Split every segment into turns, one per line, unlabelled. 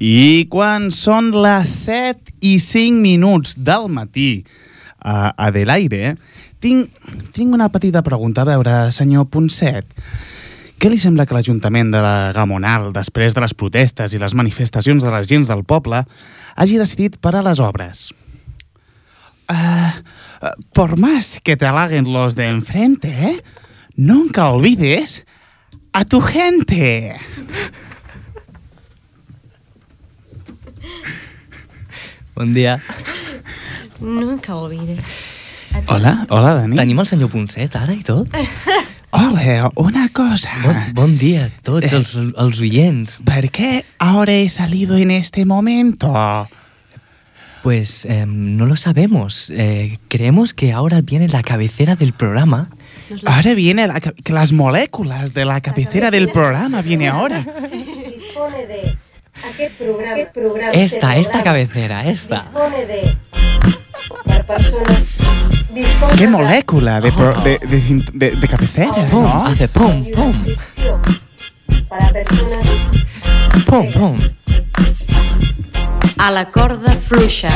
I quan són les 7 i 5 minuts del matí a Adelaire, tinc, tinc una petita pregunta. A veure, senyor Ponset, què li sembla que l'Ajuntament de la Gamonal, després de les protestes i les manifestacions de les gens del poble, hagi decidit parar les obres? Eh, por más que te halaguen los de enfrente, eh, nunca olvides a tu gente.
Bon dia.
Nunca olvides.
Hola, hola, Dani.
Tenim el senyor Ponset ara i tot?
Hola, una cosa. Eh.
Bon, bon dia a tots els, els oients.
¿Por qué ahora he salido en este momento?
Pues eh, no lo sabemos. Eh, creemos que ahora viene la cabecera del programa.
Nos lo-
Ahora viene la ca- que las moléculas de la cabecera del programa, viene ahora.
Dispone de aquest programa. Aquest programa
Esta,
aquest programa.
esta cabecera, esta.
Dispone de... Per persones... Dispone
¿Qué
de-
molécula de, pro- de, de cint- de- de cabecera?
Pum,
¿no?
hace pum,
de
pum,
descripció Para persones...
pum, pum.
A la corda fluixa.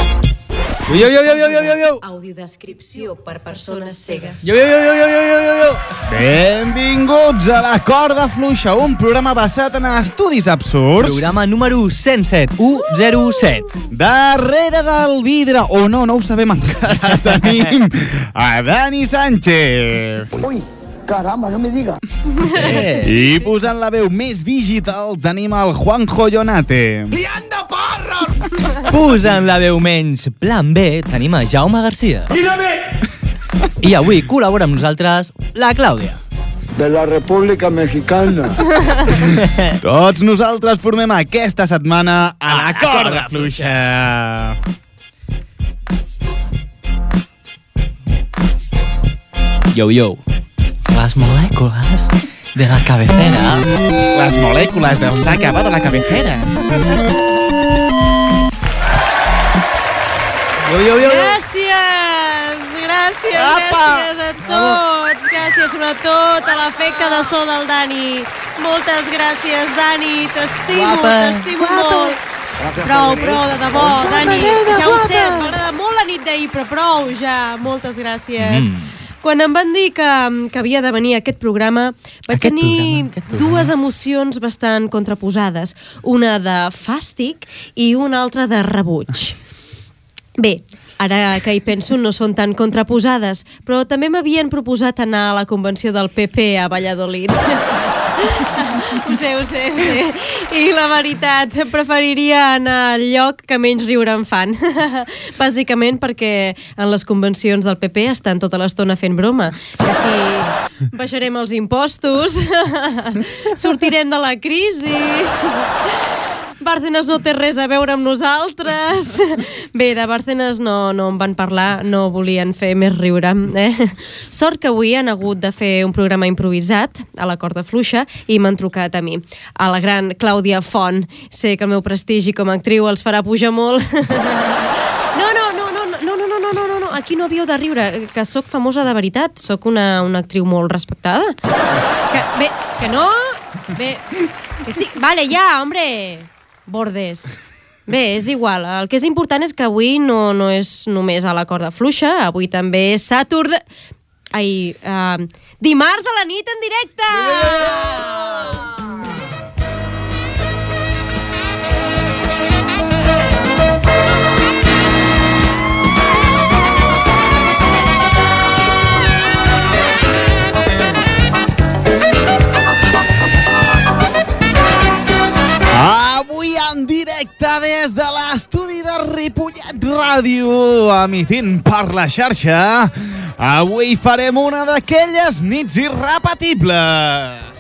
Yo, yo, yo, yo, yo, yo, yo, yo.
Audiodescripció per persones cegues.
Yo, yo, yo, yo, yo, yo, yo, yo.
Benvinguts a la corda fluixa, un programa basat en estudis absurds.
Programa número 107, 107.
Darrere del vidre, o oh, no, no ho sabem encara, tenim a Dani Sánchez.
Eh.
I posant la veu més digital tenim el Juanjo Jonate.
Posant la veu menys plan B, tenim a Jaume Garcia. I avui col·labora amb nosaltres la Clàudia.
de la República Mexicana.
Tots nosaltres formem aquesta setmana a la corda fluixa.
Yo, yo. Les molècules de la cabecera.
Les molècules del sacaba de la cabecera.
Yo, yo, yo, yo.
Gràcies, gràcies,
Apa!
gràcies a tots. Gràcies sobretot a l'efecte de so del Dani. Moltes gràcies, Dani. T'estimo,
Guapa.
t'estimo molt. Prou, prou, de debò, Dani. Ja ho sé, et va agradar molt la nit d'ahir, però prou ja. Moltes gràcies.
Mm.
Quan em van dir que, que havia de venir a aquest programa, vaig
Aquest
tenir
programa, aquest programa.
dues emocions bastant contraposades. Una de fàstic i una altra de rebuig. Bé, ara que hi penso no són tan contraposades, però també m'havien proposat anar a la convenció del PP a Valladolid. ho sé, ho sé, ho sé. I la veritat, preferiria anar al lloc que menys riure em fan. Bàsicament perquè en les convencions del PP estan tota l'estona fent broma. Que si baixarem els impostos, sortirem de la crisi... Bárcenas no té res a veure amb nosaltres. Bé, de Bárcenas no, no en van parlar, no volien fer més riure. Eh? Sort que avui han hagut de fer un programa improvisat a la corda fluixa i m'han trucat a mi, a la gran Clàudia Font. Sé que el meu prestigi com a actriu els farà pujar molt. No, no, no, no, no, no, no, no, no, no, no, aquí no havíeu de riure, que sóc famosa de veritat, sóc una, una actriu molt respectada. Que, bé, que no... Bé, que sí. Vale, ja, hombre. Bordes. Bé, és igual. El que és important és que avui no, no és només a la corda fluixa, avui també és Saturday... Ai, uh, dimarts a la nit en directe!
Avui en directe des de l'estudi de Ripollet Ràdio, emitint per la xarxa, avui farem una d'aquelles nits irrepetibles.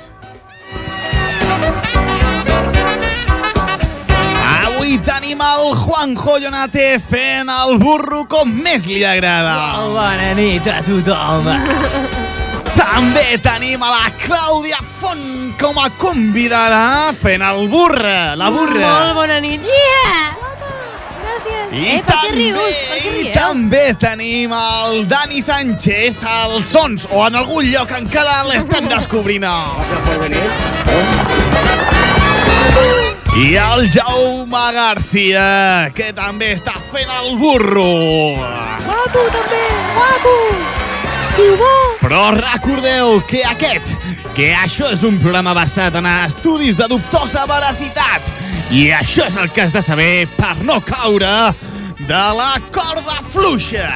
Avui tenim el Juanjo Jonate fent el burro com més li agrada.
Bona nit a tothom.
També tenim a la Clàudia Font com a convidada fent el burra, la burra.
Molt bona nit. Yeah! Gràcies. eh, per què rius? Per què
i
rieu?
també tenim el Dani Sánchez als Sons, o en algun lloc encara l'estan descobrint. I el Jaume Garcia, que també està fent el burro.
Guapo, també! Guapo! I bo!
Però recordeu que aquest, que això és un programa basat en estudis de dubtosa veracitat. I això és el que has de saber per no caure de la corda fluixa.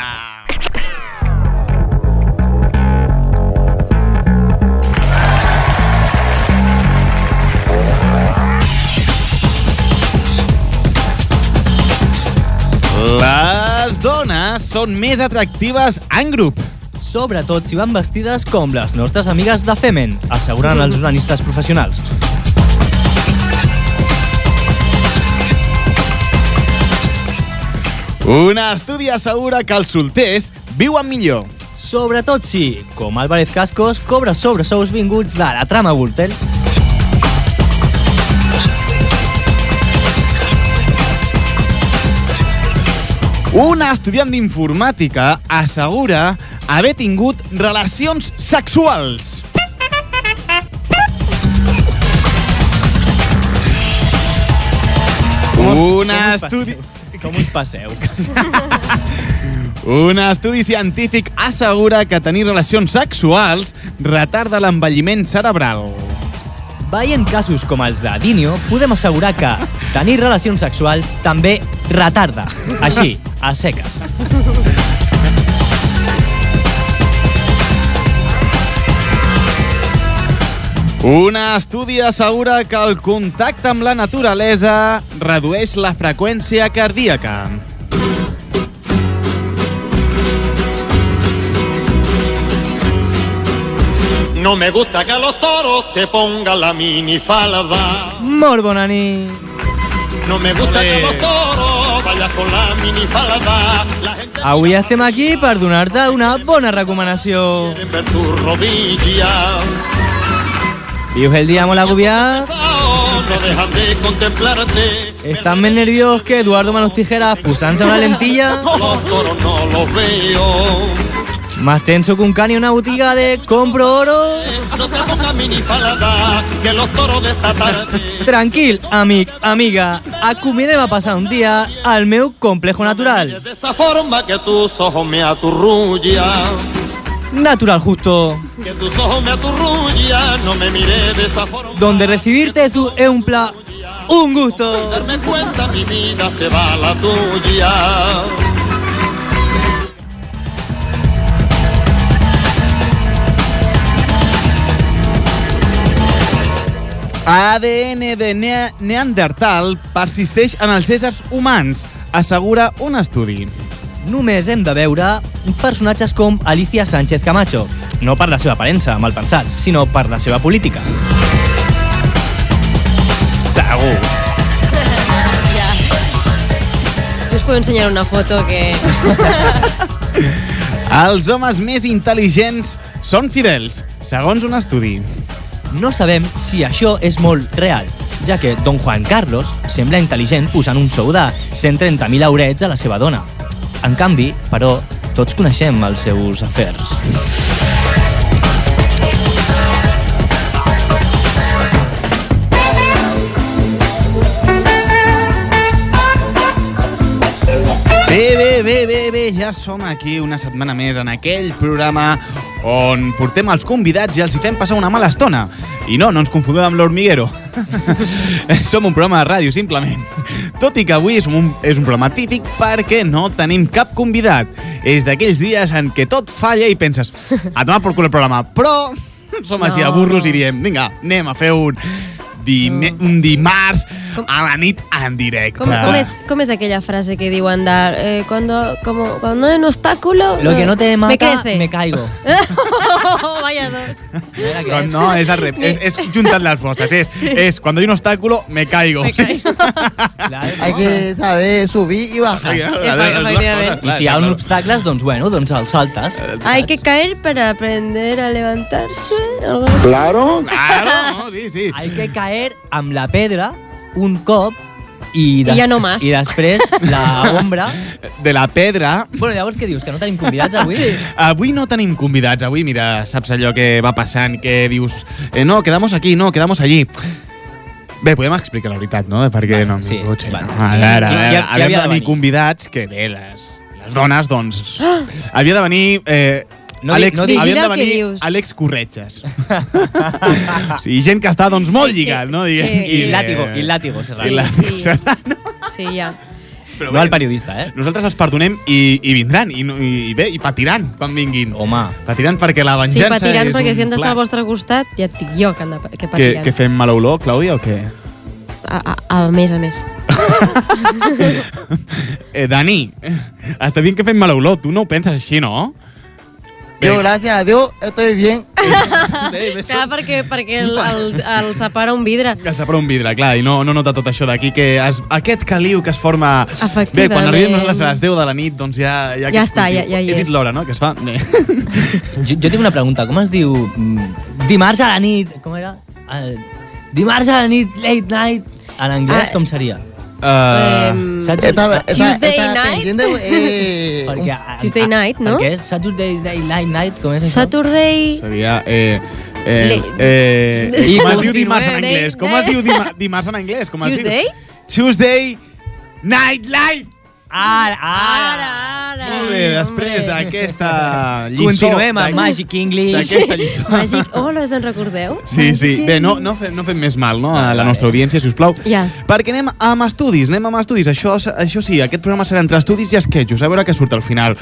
Les dones són més atractives en grup.
Sobretot si van vestides com les nostres amigues de Femen, asseguren els organistes professionals.
Un estudi assegura que els solters viuen millor.
Sobretot si, com Álvarez Cascos, cobra sobresous vinguts de la trama Gürtel.
Un estudiant d'informàtica assegura haver tingut relacions sexuals. Un estudi,
Com us passeu?
un estudi científic assegura que tenir relacions sexuals retarda l'envelliment cerebral.
Veient casos com els de Dinio, podem assegurar que tenir relacions sexuals també retarda. Així, a seques.
Un estudi assegura que el contacte amb la naturalesa redueix la freqüència cardíaca.
No me gusta que a los toros te pongan la minifalda.
Molt bona nit.
No me gusta que a los toros vayas con la minifalda. La gente
Avui estem aquí per donar-te una bona recomanació.
quiere ver tu rodilla.
Vius el dia molt agobiat?
Oh, no dejan de contemplarte.
Estàs més nerviós que Eduardo Manos Tijeras posant-se una lentilla?
Los toros no los veo.
Más tenso que un can i una botiga de compro oro?
No te pongas minifalda, que los toros de esta tarde.
Tranquil, amic, amiga, acomidem a passar un dia al meu complejo natural.
De esa forma que tus ojos me aturrullan.
Natural justo.
Que tus ojos me aturrullan. No me miré de esa forma.
donde recibirte tú es un pla... un gusto.
Darme cuenta mi vida se va a la tuya.
ADN de ne Neandertal persisteix en els éssers humans, assegura un estudi.
Només hem de veure personatges com Alicia Sánchez Camacho, no per la seva aparença, mal pensats, sinó per la seva política.
Segur.
Jo us puc ensenyar una foto que...
Els homes més intel·ligents són fidels, segons un estudi.
No sabem si això és molt real, ja que Don Juan Carlos sembla intel·ligent posant un sou de 130.000 aurets a la seva dona. En canvi, però, tots coneixem els seus afers.
Bé, bé, bé, bé, bé, ja som aquí una setmana més en aquell programa on portem els convidats i els hi fem passar una mala estona. I no, no ens confundem amb l'Hormiguero. som un programa de ràdio, simplement. Tot i que avui és un, és un programa típic perquè no tenim cap convidat. És d'aquells dies en què tot falla i penses, a tomar por cul el programa, però som així a
No.
burros i diem, vinga, anem a fer un, dim un dimarts
Com-
a la nit en directe.
Com, com, és, com és aquella frase que diuen de... Eh, cuando, como, cuando hay un obstáculo...
Lo que no te
Me
mata,
crece.
me caigo.
oh, vaya dos.
No, no, es al revés. Es, es juntar las foscas. Es, es cuando hay un obstáculo, me caigo.
Me caigo.
Hay que saber subir y bajar.
eh?
I si hi ha un obstacles, doncs bueno, doncs el saltes.
Hay que caer para aprender a levantarse. algo así.
Claro.
Claro, no, sí, sí.
Hay que caer amb la pedra un cop i, des-
I ja no mas.
I després la ombra.
De la pedra...
bueno, llavors què dius? Que no tenim convidats avui? Sí.
Avui no tenim convidats, avui, mira, saps allò que va passant, que dius, eh, no, quedamos aquí, no, quedamos allí. Bé, podem explicar la veritat, no? De per què
Va,
no
sí,
sí. Potser,
va.
no? A veure, a
Qui- qui-
veure,
qui havia
ja, ja havia
de
de venir
venir?
convidats que bé, les, les dones, doncs... Havia de venir... Eh,
No
no,
di-
Àlex,
no
no
diguis.
havien de
Vigila el que
venir
dius.
Àlex Corretges. o sigui, gent que està, doncs, molt lligat, no?
que-
Diguem,
que-
I látigo,
eh,
i látigo,
Sí,
Eh, Sí,
Serrano.
la-
sí.
Serrano.
Sí, ja.
Però
No
bé,
al periodista, eh?
Nosaltres els perdonem i, i vindran, i, no- i bé, i patiran quan vinguin.
Home,
Patiran perquè la
Sí,
venjança
patiran,
és
perquè
un
si han d'estar
plat.
al vostre costat, ja et dic jo que, han de, que
Que,
patiran.
que fem mala olor, Clàudia, o què?
A, a, a més, a més.
Eh, Dani, està dient que fem mala olor. Tu no ho penses així, no?
Yo, gracias a Dios, estoy bien.
Bé, eh, ves
Clar,
tu.
perquè, perquè el, el, el separa un vidre.
Que el separa un vidre, clar, i no, no nota tot això d'aquí, que es, aquest caliu que es forma... Bé,
Efectivament.
quan arribem nosaltres a les 10 de la nit, doncs ja... Ja,
Ja
aquest
està, ja-
cultiu-
ja hi
He
és.
dit l'hora, no?, que es fa... Bé.
jo, jo tinc una pregunta. Com es diu... mm, Dimarts a la nit... Com era? El, dimarts a la nit, late night... En anglès,
Ah,
com seria?
Uh,
Em,
Saps?
Estaba, estaba-
Tuesday
estaba
night.
pendiente, eh,
Perquè, a-
Tuesday
a-
night, no?
Perquè és Saturday Night Night, night com és això?
Saturday...
seria... Eh, eh,
Le-
eh,
I
com es
continuem.
diu dimarts en anglès? Com es diu dima- dimarts en anglès? Com es diu?
Tuesday?
Tuesday Night Live!
Ara, ara.
Ara, ara.
Molt bé, després
hombre.
d'aquesta lliçó...
Continuem
d'aqu-
amb Magic English.
D'aquesta lliçó.
Màgic. Oh, les en recordeu?
Sí, sí. Bé, Eh, no, no, fem, no fem més mal, no?,
Ah,
a la nostra audiència, si us plau.
Ja.
Perquè anem amb estudis, anem amb estudis. Això, això sí, aquest programa serà entre estudis i esquetxos, a veure què surt al final.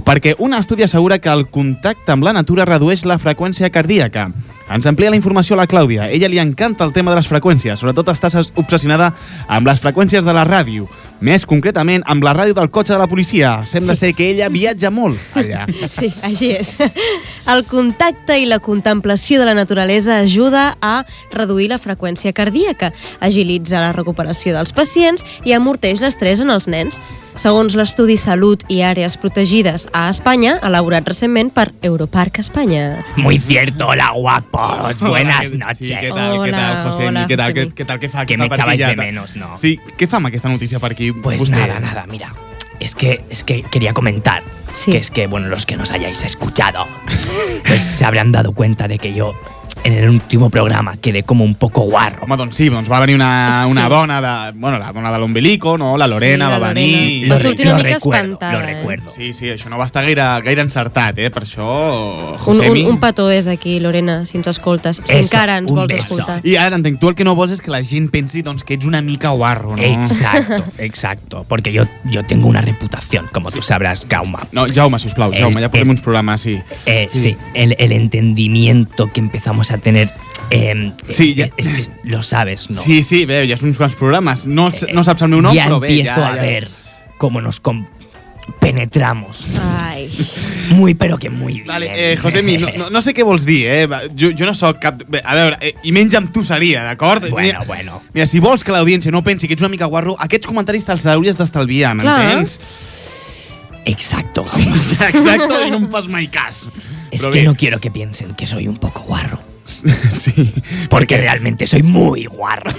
Perquè un estudi assegura que el contacte amb la natura redueix la freqüència cardíaca. Ens amplia la informació a la Clàudia. A ella li encanta el tema de les freqüències, sobretot està s- obsessionada amb les freqüències de la ràdio. Més concretament, amb la ràdio del cotxe de la policia. Sembla ser que ella viatja molt allà.
Sí, així és. El contacte i la contemplació de la naturalesa ajuda a reduir la freqüència cardíaca, agilitza la recuperació dels pacients i amorteix l'estrès en els nens. Segons l'estudi Salut i Àrees Protegides a Espanya, elaborat recentment per Europarc Espanya.
Muy cierto, hola guapos, buenas
Sí, què
noches.
tal, què tal,
Hola,
José?
hola,
què tal, què,
Josemi.
què tal, què fa?
Que
Què
me
fa per
echabais
aquí
de
ja?
menos, ¿no?
Sí, què fa amb aquesta notícia per aquí?
Pues
vostè?
nada, nada, mira. Es que, es que quería comentar
Sí.
que es que, bueno, los que nos hayáis escuchado, pues se habrán dado cuenta de que yo en el último programa quedé como un poco guarro.
Home, doncs sí, doncs va venir una, una
Sí.
dona de... Bueno, la dona de l'Ombelico, no? La Lorena
Sí, la
va
Lorena.
venir... i-
Va sortir una mica
recuerdo,
espantada,
Lo
eh?
recuerdo.
Sí, sí, això no va estar gaire, gaire encertat, eh? Per això,
Un, un,
Josemi...
un petó des d'aquí, Lorena, si ens escoltes. Si
Eso,
encara ens
un
vols
beso.
escoltar.
I ara t'entenc, tu el que no vols és que la gent pensi doncs, que ets una mica guarro, no?
Exacto, exacto. Porque yo, yo tengo una reputación, como tú sabrás, Gauma.
No, Jaume, sisplau,
Eh,
Jaume, ja portem
eh.
uns programes, sí.
Eh, sí, el, el entendimiento que empezamos a tener. eh,
Sí,
eh,
ya-
es- es- lo sabes, ¿no?
Sí, sí, bé, ja són uns quants programes. No, no saps el meu nom,
ya
però bé,
empiezo
ja...
a
ja-
ver cómo nos com- penetramos.
Ai,
Muy, pero que muy bien.
Vale, eh, Josemi, no, no, no sé què vols dir, eh? Va, Jo, jo no sóc cap... Bé, a veure, eh, i menys amb tu seria, d'acord?
Bueno,
Mira-
bueno.
Mira, si vols que l'audiència no pensi que ets una mica guarro, aquests comentaris te'ls hauries d'estalviar,
Clar.
m'entens?
Exacto.
Exacte, i no em fas mai cas.
Es
Però
que
bé,
no quiero que piensen que soy un poco guarro.
Sí.
Porque realmente soy muy guarro.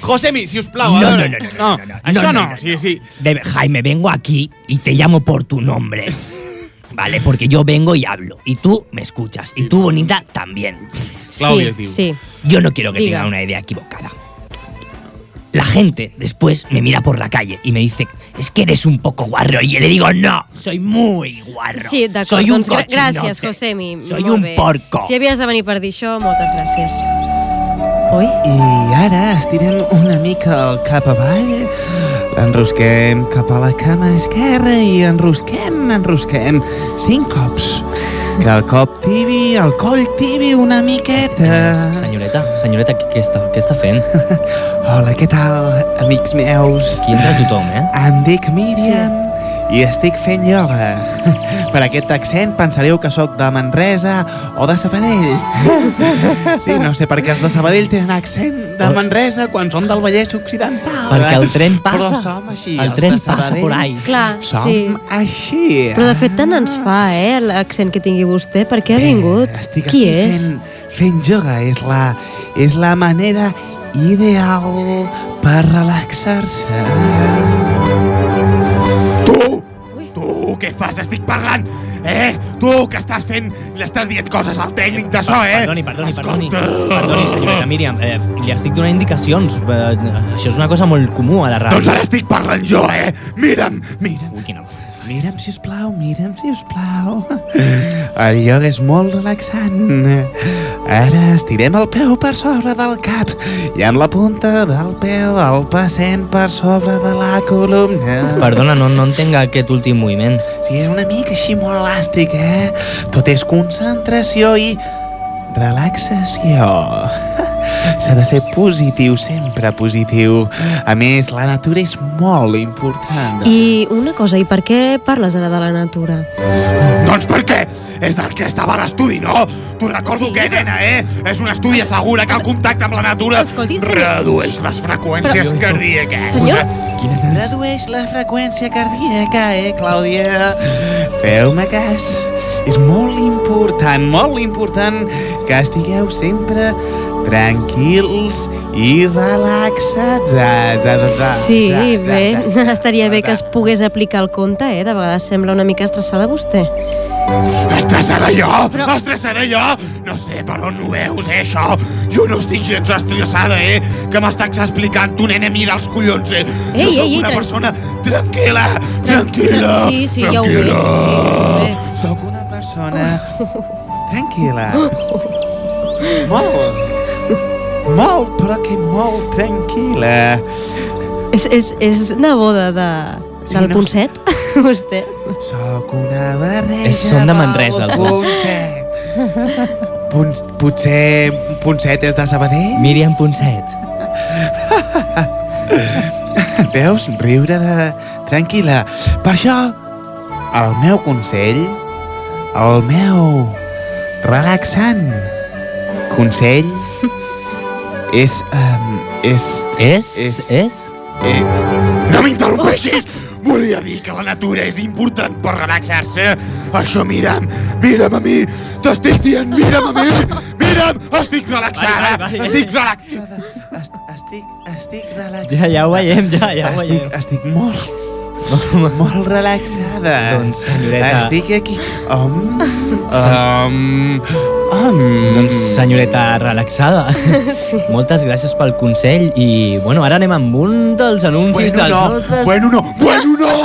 Josemi, si us plau,
No,
a
no, no,
veure.
no, no, no, no.
Això no,
no,
sí,
no.
sí.
De- Jaime, vengo aquí y te llamo por tu nombre. Vale, porque yo vengo y hablo. Y tú me escuchas. Y tú, bonita, también.
Clàudia es
sí,
diu.
sí.
Yo no quiero que
Diga.
tengan una idea equivocada. La gente después me mira por la calle y me dice, es que eres un poco guarro. Y yo le digo, no, soy muy guarro.
Sí, d'acord.
Soy un
doncs gra-
cochinote.
Gràcies, Josemi.
Soy
Molt
un
bé.
porco.
Si havies de venir per dir això, moltes gràcies. Ui?
I ara estirem una mica el cap avall, enrosquem cap a la cama esquerra i enrosquem, enrosquem cinc cops. Que el cop tibi, el coll tibi una miqueta.
Senyoreta, senyoreta, què, està, què està fent?
Hola, què tal, amics meus?
Aquí entra tothom, eh?
Em dic Míriam i estic fent ioga. Per aquest accent pensareu que sóc de Manresa o de Sabadell. Sí, no sé per què els de Sabadell tenen accent de Manresa quan som del Vallès Occidental.
Perquè el tren passa.
Però som així.
El
els
tren
de
passa
Sabadell
por ahí.
Clar,
Som
sí.
així.
Però de fet tant ens fa, eh, l'accent que tingui vostè. Per què ha vingut?
Bé, Estic
Qui
aquí
és?
Fent, fent yoga. És la, és la manera ideal per relaxar-se. Tu! Tu, què fas? Estic parlant
Eh, tu, que estàs fent... L'estàs dient coses al tècnic de so, eh?
Perdoni, perdoni, perdoni.
Escolta.
Perdoni, senyoreta Míriam. Eh, li estic donant indicacions. Eh, això és una cosa molt comú a la ràdio.
Doncs ara estic parlant jo, eh? Mira'm, mira'm.
Ui, quina...
Mira'm, si us plau, mira'm, si us plau. El lloc és molt relaxant. Ara estirem el peu per sobre del cap i amb la punta del peu el passem per sobre de la columna.
Perdona, no, no entenc aquest últim moviment.
Sí, és una mica així molt elàstic, eh? Tot és concentració i relaxació. S'ha de ser positiu, sempre positiu. A més, la natura és molt important.
I una cosa, i per què parles ara de la natura?
Doncs per què? És del que estava a l'estudi, no? T'ho recordo
Sí.
que, nena, eh? És un estudi assegura que el contacte amb la natura
Escolti, senyor-
redueix les freqüències
Però-
cardíaques.
Senyor?
Redueix la freqüència cardíaca, eh, Clàudia? Feu-me cas. És molt important, molt important que estigueu sempre tranquils i relaxats.
Sí, bé, estaria bé que es pogués aplicar el conte, eh? De vegades sembla una mica estressada vostè.
Estressada jo? Però... Estressada jo? No sé per on ho veus, eh, això. Jo no estic gens estressada, eh? Que m'estàs explicant un enemic dels collons, eh? jo
Ei,
sóc
ei, ei,
una
tran-
persona tranquil·la, tranquil·la,
tran- sí, sí, ja ho
tranquil·la.
veig, sí, bé.
Sóc una persona tranquil·la.
Oh.
Molt. Molt, però que molt tranquil·la.
És, és, és neboda de,
Sí,
del
no-
Ponset, vostè?
Sóc una barreja...
És- són de Manresa, els dos.
Ponset. Pons, potser Ponset és de Sabadell?
Míriam Ponset.
Veus? Riure de... Tranquil·la. Per això, el meu consell, el meu relaxant consell és... Um, és...
És?
És-
És?
Eh... No m'interrompeixis! Volia dir que la natura és important per relaxar-se. Això, mira'm, mira'm a mi, t'estic dient, mira'm a mi, mira'm, estic relaxada,
Vai, vai, vai.
estic relaxada, est estic, estic relaxada.
Ja, ja ho veiem, ja, ja ho
estic,
veiem.
estic molt, molt relaxada.
Doncs, senyoreta...
Eh, Estic aquí. Om, om, om.
Doncs, senyoreta relaxada,
Sí.
moltes gràcies pel consell i, bueno, ara anem amb un dels anuncis
Bueno,
dels
no,
nostres...
bueno, no, bueno, no,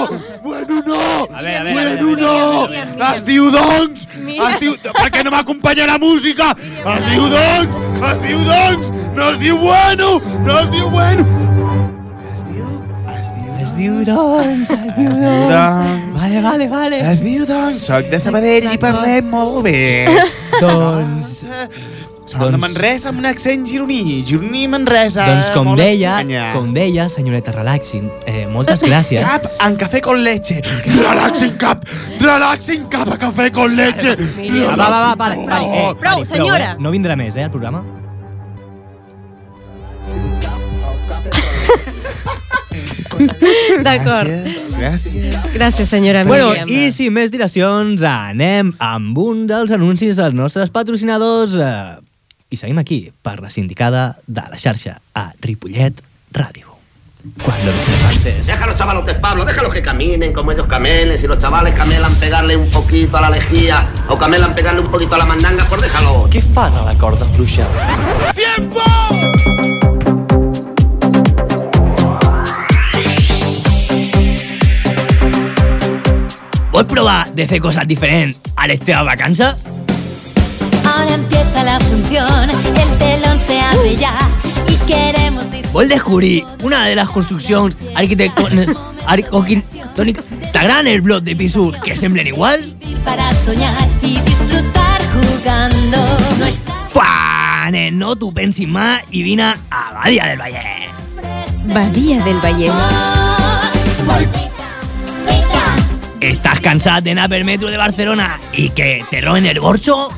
bueno, no.
A veure, a veure, a veure,
Bueno,
a veure.
no!
Miriam, Miriam.
Es diu doncs!
Miriam.
Es diu... Per què no m'acompanya la música? Es diu doncs! Es diu doncs! No es diu bueno! No es diu bueno! Es diu... Es diu...
Es diu doncs, es diu
Es diu
doncs...
doncs...
Vale, vale, vale.
Es diu doncs, soc de Sabadell i
Exacte.
parlem molt bé.
Doncs...
Som de
Doncs-
Manresa amb un accent gironí, gironí Manresa.
Doncs com
molt
deia,
estranya.
com deia, senyoreta Relaxin, eh, moltes gràcies.
Cap en cafè con leche. Relaxing cap, relaxing cap a cafè con leche.
Va, Ah, va, va, va, para,
Relaxing,
para, eh,
por
Prou,
eh,
senyora.
eh? No vindrà més, eh, al programa?
D'acord.
Gràcies, gràcies.
Gràcies, senyora
Bueno,
Míriam.
i sin més dilacions, anem amb un dels anuncis dels nostres patrocinadors eh, i seguim aquí per la sindicada de la xarxa a Ripollet Ràdio. Cuando los elefantes...
Deja a los chavalotes, Pablo, déjalos que caminen como ellos camelen. Si los chavales camelan pegarle un poquito a la lejía o camelan pegarle un poquito a la mandanga, pues déjalo.
Què fan a la corda fluixa? ¡Tiempo! Vols provar de fer coses diferents a
este
les teves vacances?
Ahora empieza la función, el telón se abre ya y queremos
Vols descobrir una de les construccions arquitectòniques bloc de pisos que semblen igual?
vivir para soñar y disfrutar jugando. Nuestras
Fa, nen, no t'ho pensis mà i vine a Badia del Vallès.
Badia del Vallès.
¿Estás cansado de nada per metro de Barcelona y que te roben el bolso?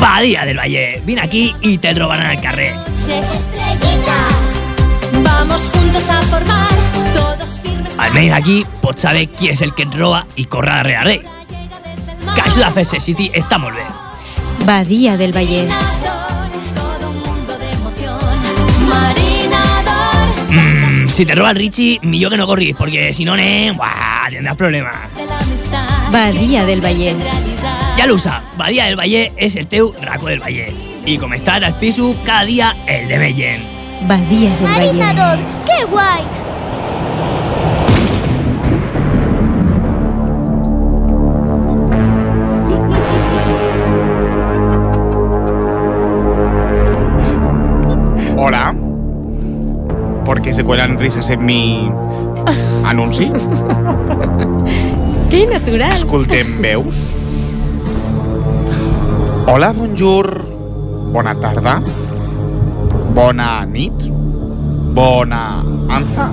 Badía del Valle, ven aquí y te robarán al carrer.
Vamos juntos a formar, todos firmes.
Al venir aquí, pues saber quién es el que te roba y corra a rey.
¿eh?
Que ayuda a FC City está muy bien.
Badia del Vallès.
Marinador, todo un mundo de emoción. Marinador,
Mmm,
Mm, Si te roba el Richie, yo que no corrís, porque si no, ne, buah, tendrás problemas.
Badia del Vallès.
Ja lo sap, Badia del Vallès és el teu racó del Vallès. I com està al piso, cada dia el de més gent.
Badia del
Marinador, qué guay.
Hola. ¿Por qué se cuelan risas en mi anunci?
Que natural.
Escoltem veus? Hola, bonjour. Bona tarda. Bona nit. Bona anza.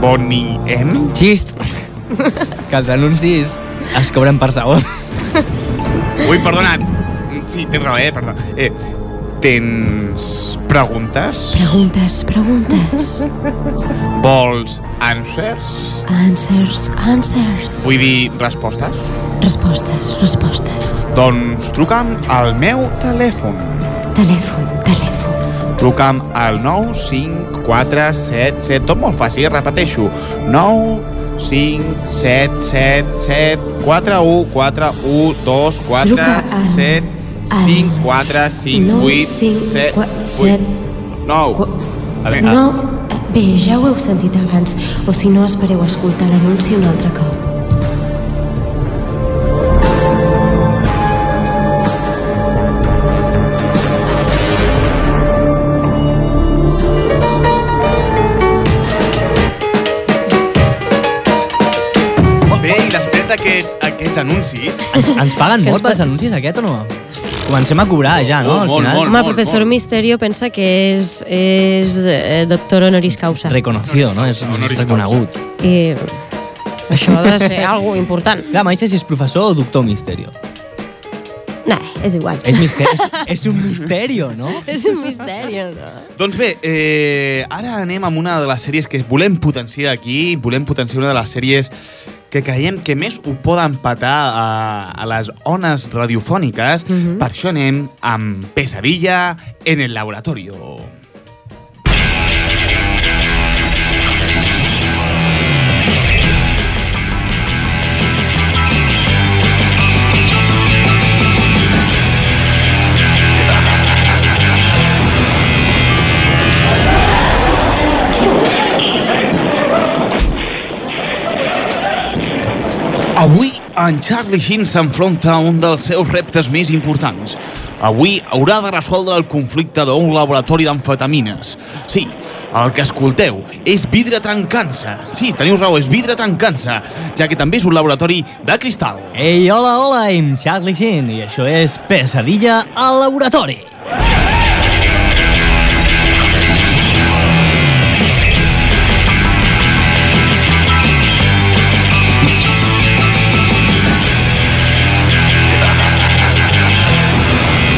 Boni em.
Xist. que els anuncis es cobren per segon.
Ui, perdona. Sí, tens raó, eh? Perdó. Eh, tens preguntes?
Preguntes, preguntes.
Vols answers?
Answers, answers.
Vull dir respostes?
Respostes, respostes.
Doncs truca'm al meu telèfon.
Telèfon, telèfon.
Truca'm al 9 5 4 7 7, tot molt fàcil, repeteixo. 9 5 7 7 7 4 1 4 1 2 4
Truca al-
7 5 4 5
Nou,
8
cinc,
7
qua- set,
9
No, eh, bé, ja ho heu sentit abans, o si no, espereu escoltar l'anunci un altre cop.
Molt bé, i després d'aquests aquests anuncis...
Ens, ens paguen
Que ens
molt pels
pa-
anuncis, aquest o no? Comencem a cobrar ja, no?
Molt, molt,
Al final.
Home, el professor Misterio pensa que és, és eh, doctor honoris causa.
Reconocido, no? És reconegut.
I això ha de ser algo important.
Clar, mai sé si és professor o doctor Misterio.
Nah, és igual.
És, mister és, és un misterio, no?
és un misteri, no?
Doncs bé, eh, ara anem amb una de les sèries que volem potenciar aquí, volem potenciar una de les sèries que creiem que més ho poden patar a, a les ones radiofòniques. Per això anem amb Pesadilla en el laboratorio. Avui, en Charlie Sheen s'enfronta a un dels seus reptes més importants. Avui haurà de resoldre el conflicte d'un laboratori d'amfetamines. Sí, el que escolteu és vidre trencant-se. Sí, teniu raó, és vidre trencant-se, ja que també és un laboratori de cristal.
Ei, hola, hola, I'm Charlie Sheen i això és Pesadilla al laboratori.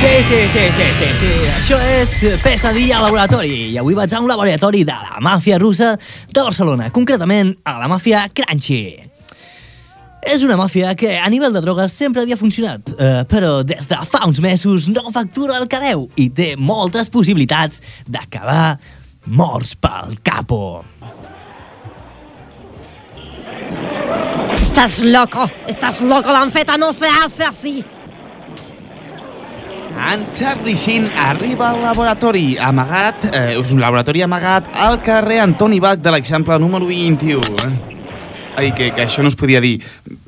Sí, sí, sí, sí, sí, sí. Això és Pesadilla al Laboratori. I avui vaig a un laboratori de la màfia russa de Barcelona, concretament a la màfia Crunchy. És una màfia que a nivell de drogues sempre havia funcionat, eh, però des de fa uns mesos no factura el que deu i té moltes possibilitats d'acabar morts pel capo.
Estás loco, estás loco, la anfeta no se hace así.
En Charlie Sheen arriba al laboratori amagat, eh, és un laboratori amagat al carrer Antoni Bach de l'Eixample número 21. Ai, que, que això no es podia dir.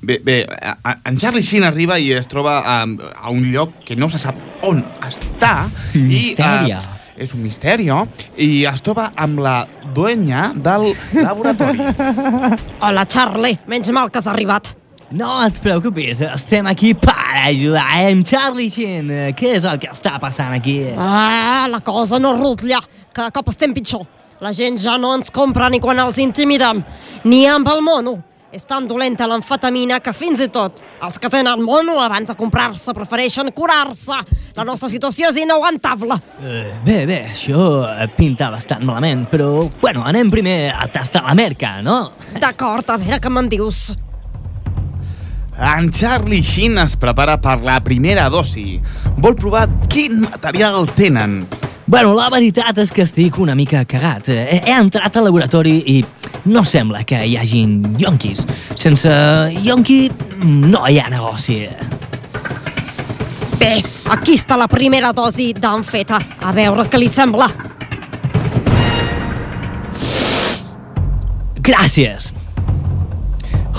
Bé, bé a- a- en Charlie Sheen arriba i es troba a, a un lloc que no se sap on està. I,
Mistèria.
eh, és un misteri, I es troba amb la duenya del laboratori.
Hola, Charlie. Menys mal que has arribat.
No et preocupis, estem aquí per ajudar, eh? Amb Charlie Sheen, Eh, què és el que està passant aquí?
Ah, la cosa no rutlla. Cada cop estem pitjor. La gent ja no ens compra ni quan els intimidem, ni amb el mono. És tan dolenta l'amfetamina que fins i tot els que tenen mono abans de comprar-se prefereixen curar-se. La nostra situació és inaguantable.
Eh, Bé, bé, això eh, pinta bastant malament, però, bueno, anem primer a tastar la merca, no?
D'acord, a veure què me'n dius.
En Charlie Sheen es prepara per la primera dosi. Vol provar quin material tenen.
Bueno, la veritat és que estic una mica cagat. Eh, He, he entrat al laboratori i no sembla que hi hagin yonquis. Sense yonqui no hi ha negoci.
Bé, aquí està la primera dosi d'en Feta. A veure què li sembla.
Gràcies!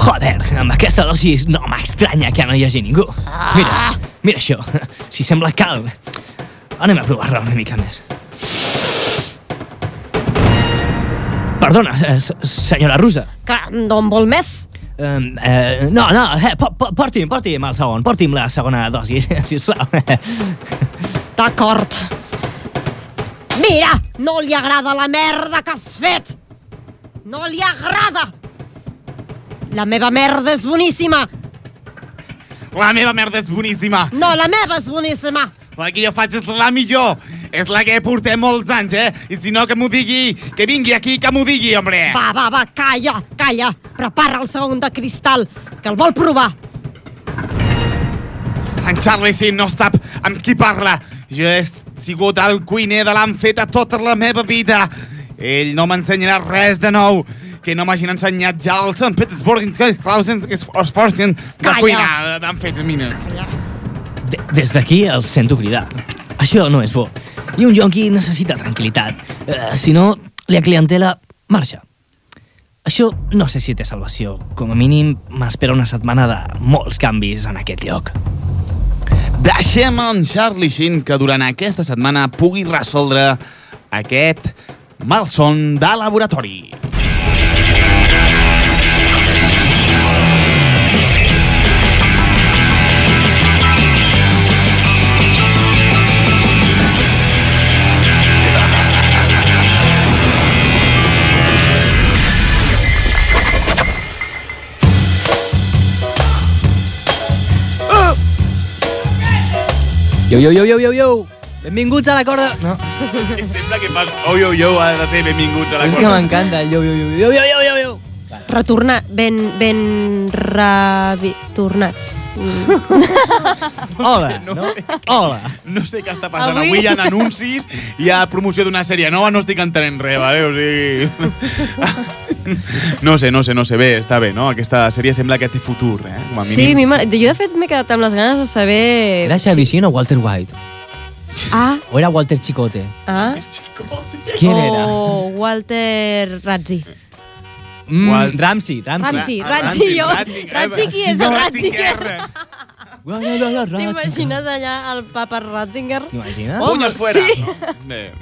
Joder, amb aquesta dosi no m'estranya que no hi hagi ningú.
Ah.
Mira, mira això. Si sembla cal. Anem a provar-la una mica més. Perdona, se- se- senyora russa.
Que no en vol més?
Um, eh, no, no, eh, po- po- porti'm, porti'm el segon, porti'm la segona dosi, sisplau.
D'acord. Mira, no li agrada la merda que has fet. No li agrada. La meva merda és boníssima.
La meva merda és boníssima.
No, la meva és boníssima.
La que jo faig és la millor. És la que portem molts anys, eh? I si no, que m'ho digui, que vingui aquí, que m'ho digui, hombre.
Va, va, va, calla, calla. Prepara el segon de cristal, que el vol provar.
En Charlie Sin no sap amb qui parla. Jo he sigut el cuiner de l'Anfeta tota la meva vida. Ell no m'ensenyarà res de nou que no m'hagin ensenyat ja els Sant Petersburg que Clausen que es forcen de
Calla.
cuinar d'Anfeta Mines.
De- Des d'aquí els sento cridar. Això no és bo. I un jonqui necessita tranquil·litat. Eh, si no, la clientela marxa. Això no sé si té salvació. Com a mínim, m'espera una setmana de molts canvis en aquest lloc.
Deixem en Charlie Sheen que durant aquesta setmana pugui resoldre aquest malson de laboratori.
Yo, yo, yo, yo, yo, yo! Benvinguts a la corda... No,
Sembla que fas oh, yo, yo, ha de ser benvinguts a la
és que m'encanta el yo, yo, yo, yo, yo, yo, yo, yo.
Retornar, ben, ben revi... tornats.
Hola, no? Hola.
No sé què està passant. Avui,
Avui-
Avui hi ha anuncis, hi ha promoció d'una sèrie nova, no estic entenent res, vale? O sigui... no sé, no sé, no sé. Bé, està bé, no? Aquesta sèrie sembla que té futur, eh? Com a
Sí,
mínim.
mi mare... Jo, de fet, m'he quedat amb les ganes de saber...
Era Xavi Sin o Walter White?
Ah,
O era Walter Chicote?
ah.
Quién era?
O Walter Razzi.
Mm, Ramsey, Ramsey.
Ramsey, Razzi, jo. Razzi, qui és el Ratzinger? T'imagines allà el papa Ratzinger?
T'imagines?
Home,
Punyos fuera.
Sí.
Bé.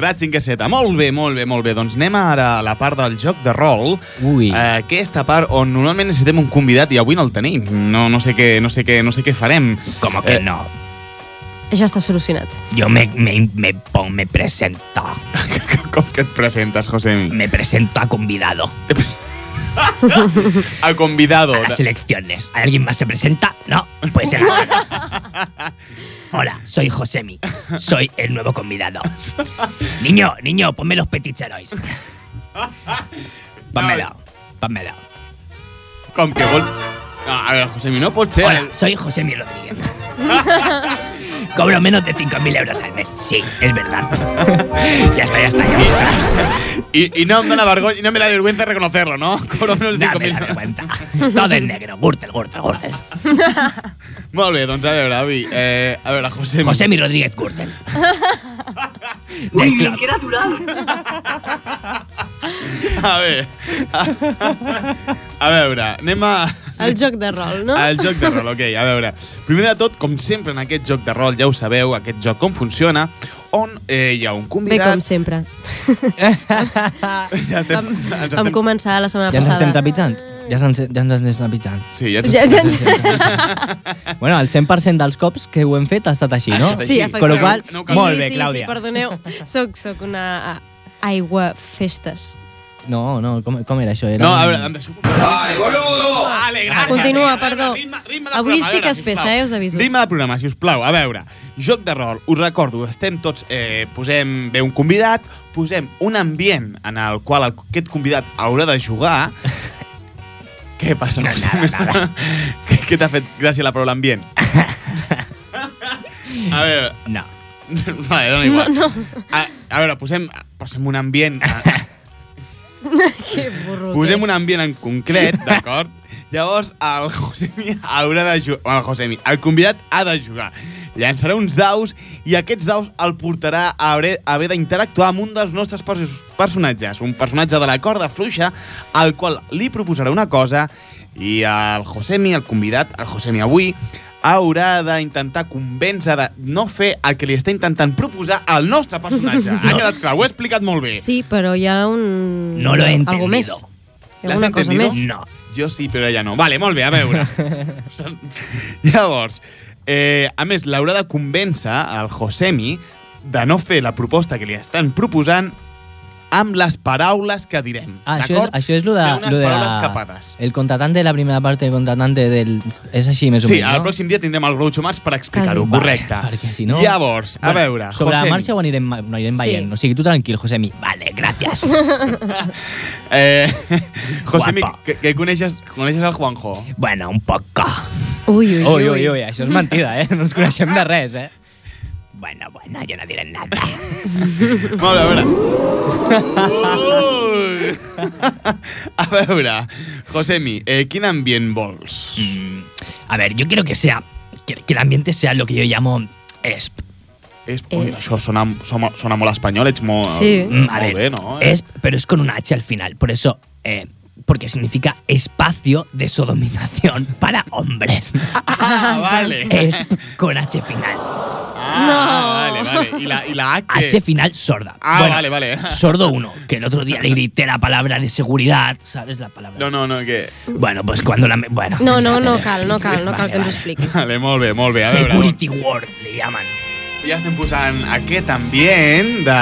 Ratxin Casseta. Ah, Molt bé, molt bé, molt bé. Doncs anem ara a la part del joc de rol.
Ui.
Eh, aquesta part on normalment necessitem un convidat i avui no el tenim. No, no, sé, què, no, sé, què, no sé què farem. Com que eh, no?
Ja està solucionat.
Yo me, me, me, pon- me presento.
¿Cómo que te presentas, José?
Me presento a convidado.
Ah. a convidado.
A las elecciones. ¿Alguien más se presenta? No, pues será. Hola, soy Josemi. Soy el nuevo convidado. Niño, niño, ponme los peticherois. Pónmelo, pónmelo.
Com que vol... Ah, A ver, Josemi, no pot ser...
Hola, soy Josemi Rodríguez. Cobro menos de 5.000 euros al mes. Sí, es verdad. ya está, ya está. Ya está.
Y, y no, em dona vergo- y no me da vergüenza reconocerlo, ¿no? Cobro menos de 5.000.
vergüenza. Todo en negro. Gürtel, Gürtel, Gürtel.
Molt bé, doncs a veure, Avi. Eh, a veure, Josemi.
Josemi Rodríguez Gürtel.
Del club. A veure. A veure, anem a...
El joc de rol, no?
El joc de rol, ok, a veure. Primer de tot, com sempre en aquest joc de rol, ja ho sabeu, aquest joc com funciona, on eh, hi ha un
Bé,
convidat...
com sempre.
ja estem, ens
Vam començar la setmana
Ja ens estem
passada.
trepitjant? Ja, ens, ja ens estem trepitjant.
Sí,
ens Ja- estem ja-
bueno, el 100% dels cops que ho hem fet ha estat
Ah,
així, no?
Sí,
Con lo qual,
efectivament.
molt bé,
sí, Sí,
Clàudia.
sí, perdoneu. Soc, soc una a- aigua festes.
No, no, com, com era això? Era
No,
un-
a veure, em deixo... Ai, boludo! Vale, gràcies.
Ah. Continua, perdó. Avui estic espessa, eh, us aviso.
Ritme del programa, si us plau. A veure, joc de rol, us recordo, estem tots... Eh, posem bé un convidat, posem un ambient en el qual el- aquest convidat haurà de jugar... Què passa? No, nada, nada. Què t'ha fet gràcia la paraula ambient? A veure...
No.
Vale, dona igual. No, no. A, a veure, posem, posem un ambient...
que burro que
Posem
és.
un ambient en concret, d'acord? Llavors, el Josemi haurà de jugar... Bueno, el Josemi, el convidat ha de jugar. Llançarà uns daus i aquests daus el portarà a haver, a haver d'interactuar amb un dels nostres perso- personatges, un personatge de la corda fluixa, al qual li proposarà una cosa i el Josemi, el convidat, el Josemi avui, haurà d'intentar convèncer de no fer el que li està intentant proposar al nostre personatge. Ha
No.
quedat clar, ho he explicat molt bé.
Sí, pero ya un...
No lo he
Algo
entendido.
més. Hi ha
¿L'has
alguna cosa
entendido?
més?
No. Jo sí, però ella no. Vale, molt bé, a veure. Llavors, eh, a més, l'haurà de convèncer el Josemi de no fer la proposta que li estan proposant amb les paraules que direm.
Ah, això és,
d'acord?
això és lo de...
Té unes
lo de
paraules capades.
El contratante de la primera parte, el contratante del... És així, més o
Sí, ah.
menys,
el
no?
pròxim dia tindrem el Groucho Marx per explicar-ho,
Quasi.
correcte.
Vale, perquè si no...
Llavors, a veure,
Sobre
Josemi.
la marxa ho anirem, ho anirem
Sí.
veient. O sigui, tu tranquil, Josemi. Vale, gràcies.
Eh, Josemi, que, que coneixes, coneixes el Juanjo? Bueno, un poc.
Ui,
ui, ui, ui, ui, això és mentida, eh? No ens coneixem de res, eh?
Bueno, bueno, yo no diré nada.
Molt bé, a veure. Ui. a veure, Josemi, eh, quin ambient vols?
Mm. A ver, yo quiero que sea. Que, que el ambiente sea lo que yo llamo. ESP.
ESP. Ui, això sona, sona, sona molt espanyol, ets molt,
Mm, A
molt
ver,
bé, no?
ESP, pero es con una H al final. Por eso. eh, porque significa espacio de sodomización para hombres.
Ah, vale.
ESP con H final.
Ah, no. vale, vale. I la, i la H?
H final sorda.
Ah,
Bueno,
vale, vale.
Sordo uno, que el otro día le grité la palabra de seguridad, ¿sabes? La palabra.
No, no, no, que...
Bueno, pues cuando la... me- Bueno.
No, no, no cal, no cal, no cal que ens ho expliquis.
Vale, molt bé, molt bé. A veure,
Security Word, le llaman.
ja estem posant aquest ambient de,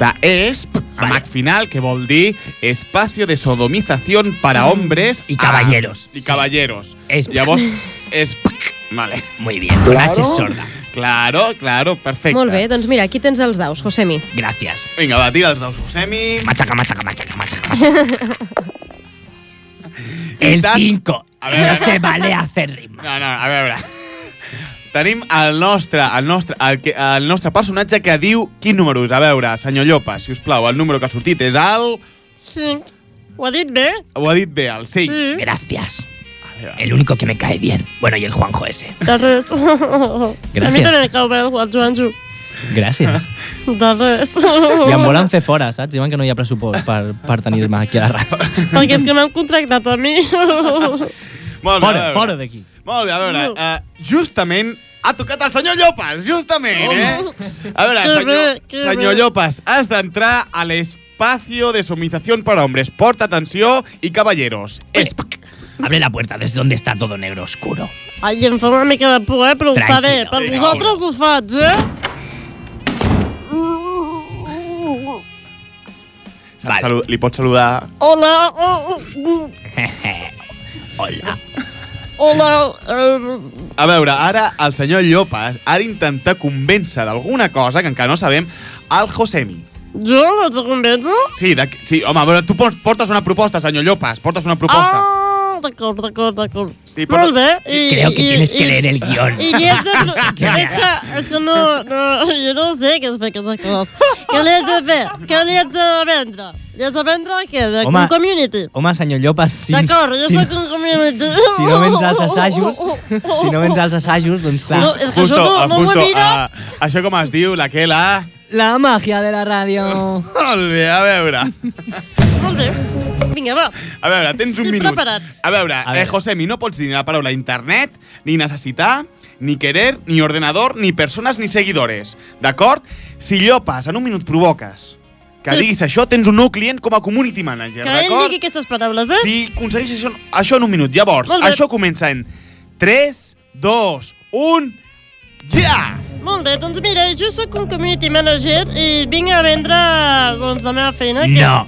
de ESP, vale. amb H final, que vol dir Espacio de Sodomización para
Mm.
Hombres
Y caballeros.
Ah, I caballeros.
ESP.
Llavors, ESP. Vale.
Muy bien,
con H sorda.
Claro, claro, perfecte.
Molt bé, doncs mira, aquí tens els daus, Josemi.
Gràcies.
Vinga, va, tira els daus, Josemi.
Machaca, machaca, machaca, machaca.
El
5.
A
No se vale hacer rimas.
No, no, a veure. Tenim el nostre, el nostre, el, que, el nostre personatge que diu quin número és. A veure, senyor Llopa, si us plau, el número que ha sortit és el...
Sí. Ho ha dit bé?
Ho ha dit bé, el
Sí.
5.
Gracias. El único que me cae bien. Bueno, y el Juanjo ese.
De res. A mi també li cau bé el Juan Joanjo.
Gràcies.
De res.
I em volen fer fora, saps? Diuen que no hi ha pressupost per, per tenir-me aquí a la ràdio.
Perquè és que m'han contractat a mi.
Fora,
Molt a veure.
fora d'aquí.
Molt bé, a veure, eh, justament ha tocat el senyor Llopas, justament, eh? A
Que
veure, senyor,
bé, que
senyor
bé.
Llopas, has d'entrar a l'espacio de somización para hombres. Porta atenció i caballeros. Eh. Esp-
Pues, Abre la puerta desde donde está todo negro oscuro.
Ai, em fa una mica de por, eh? Però ho faré.
Tranquil,
Per
vinga,
vosaltres ho faig, eh?
Vale. Salu li pots saludar...
Hola. oh,
Hola.
Hola. eh,
A veure, ara el senyor Llopas ha d'intentar convèncer d'alguna cosa que encara no sabem al Josemi.
Jo l'haig de convèncer?
Sí, de, sí home, a veure, tu pos- portes una proposta, senyor Llopas, portes una proposta.
Ah, d'acord, d'acord, d'acord.
Sí, però-
Molt bé. I,
Creo que
i-
tienes que
i-
leer el guión.
I és, és, que, és que no, no, jo no sé què és fer aquestes coses. Què li haig de fer? Què li haig de vendre? Li haig de vendre què? De
Home,
un community.
Home, senyor Llopas, si,
D'acord, jo
si,
sóc un community.
si no vens als assajos, si no vens als assajos, doncs clar...
No, és que Justo, això no- no ho he mirat.
ah, això com es diu, la que la...
La màgia de la ràdio.
Molt bé, a veure.
Molt bé. Vinga, va.
A veure, tens un
Estic
minut.
preparat.
A veure, a veure. Eh, Josemi, no pots dir ni la paraula internet, ni necessitar, ni querer, ni ordenador, ni persones, ni seguidores. D'acord? Si llopes, en un minut provoques que
Sí.
diguis això, tens un nou client com a community manager,
Que ell
d'acord?
digui aquestes paraules, eh?
Si aconsegueix això, això en un minut. Llavors,
Molt bé.
això comença en 3, 2, 1, ja!
Molt bé, doncs mira, jo sóc un community manager i vinc a vendre doncs, la meva feina. Que
No.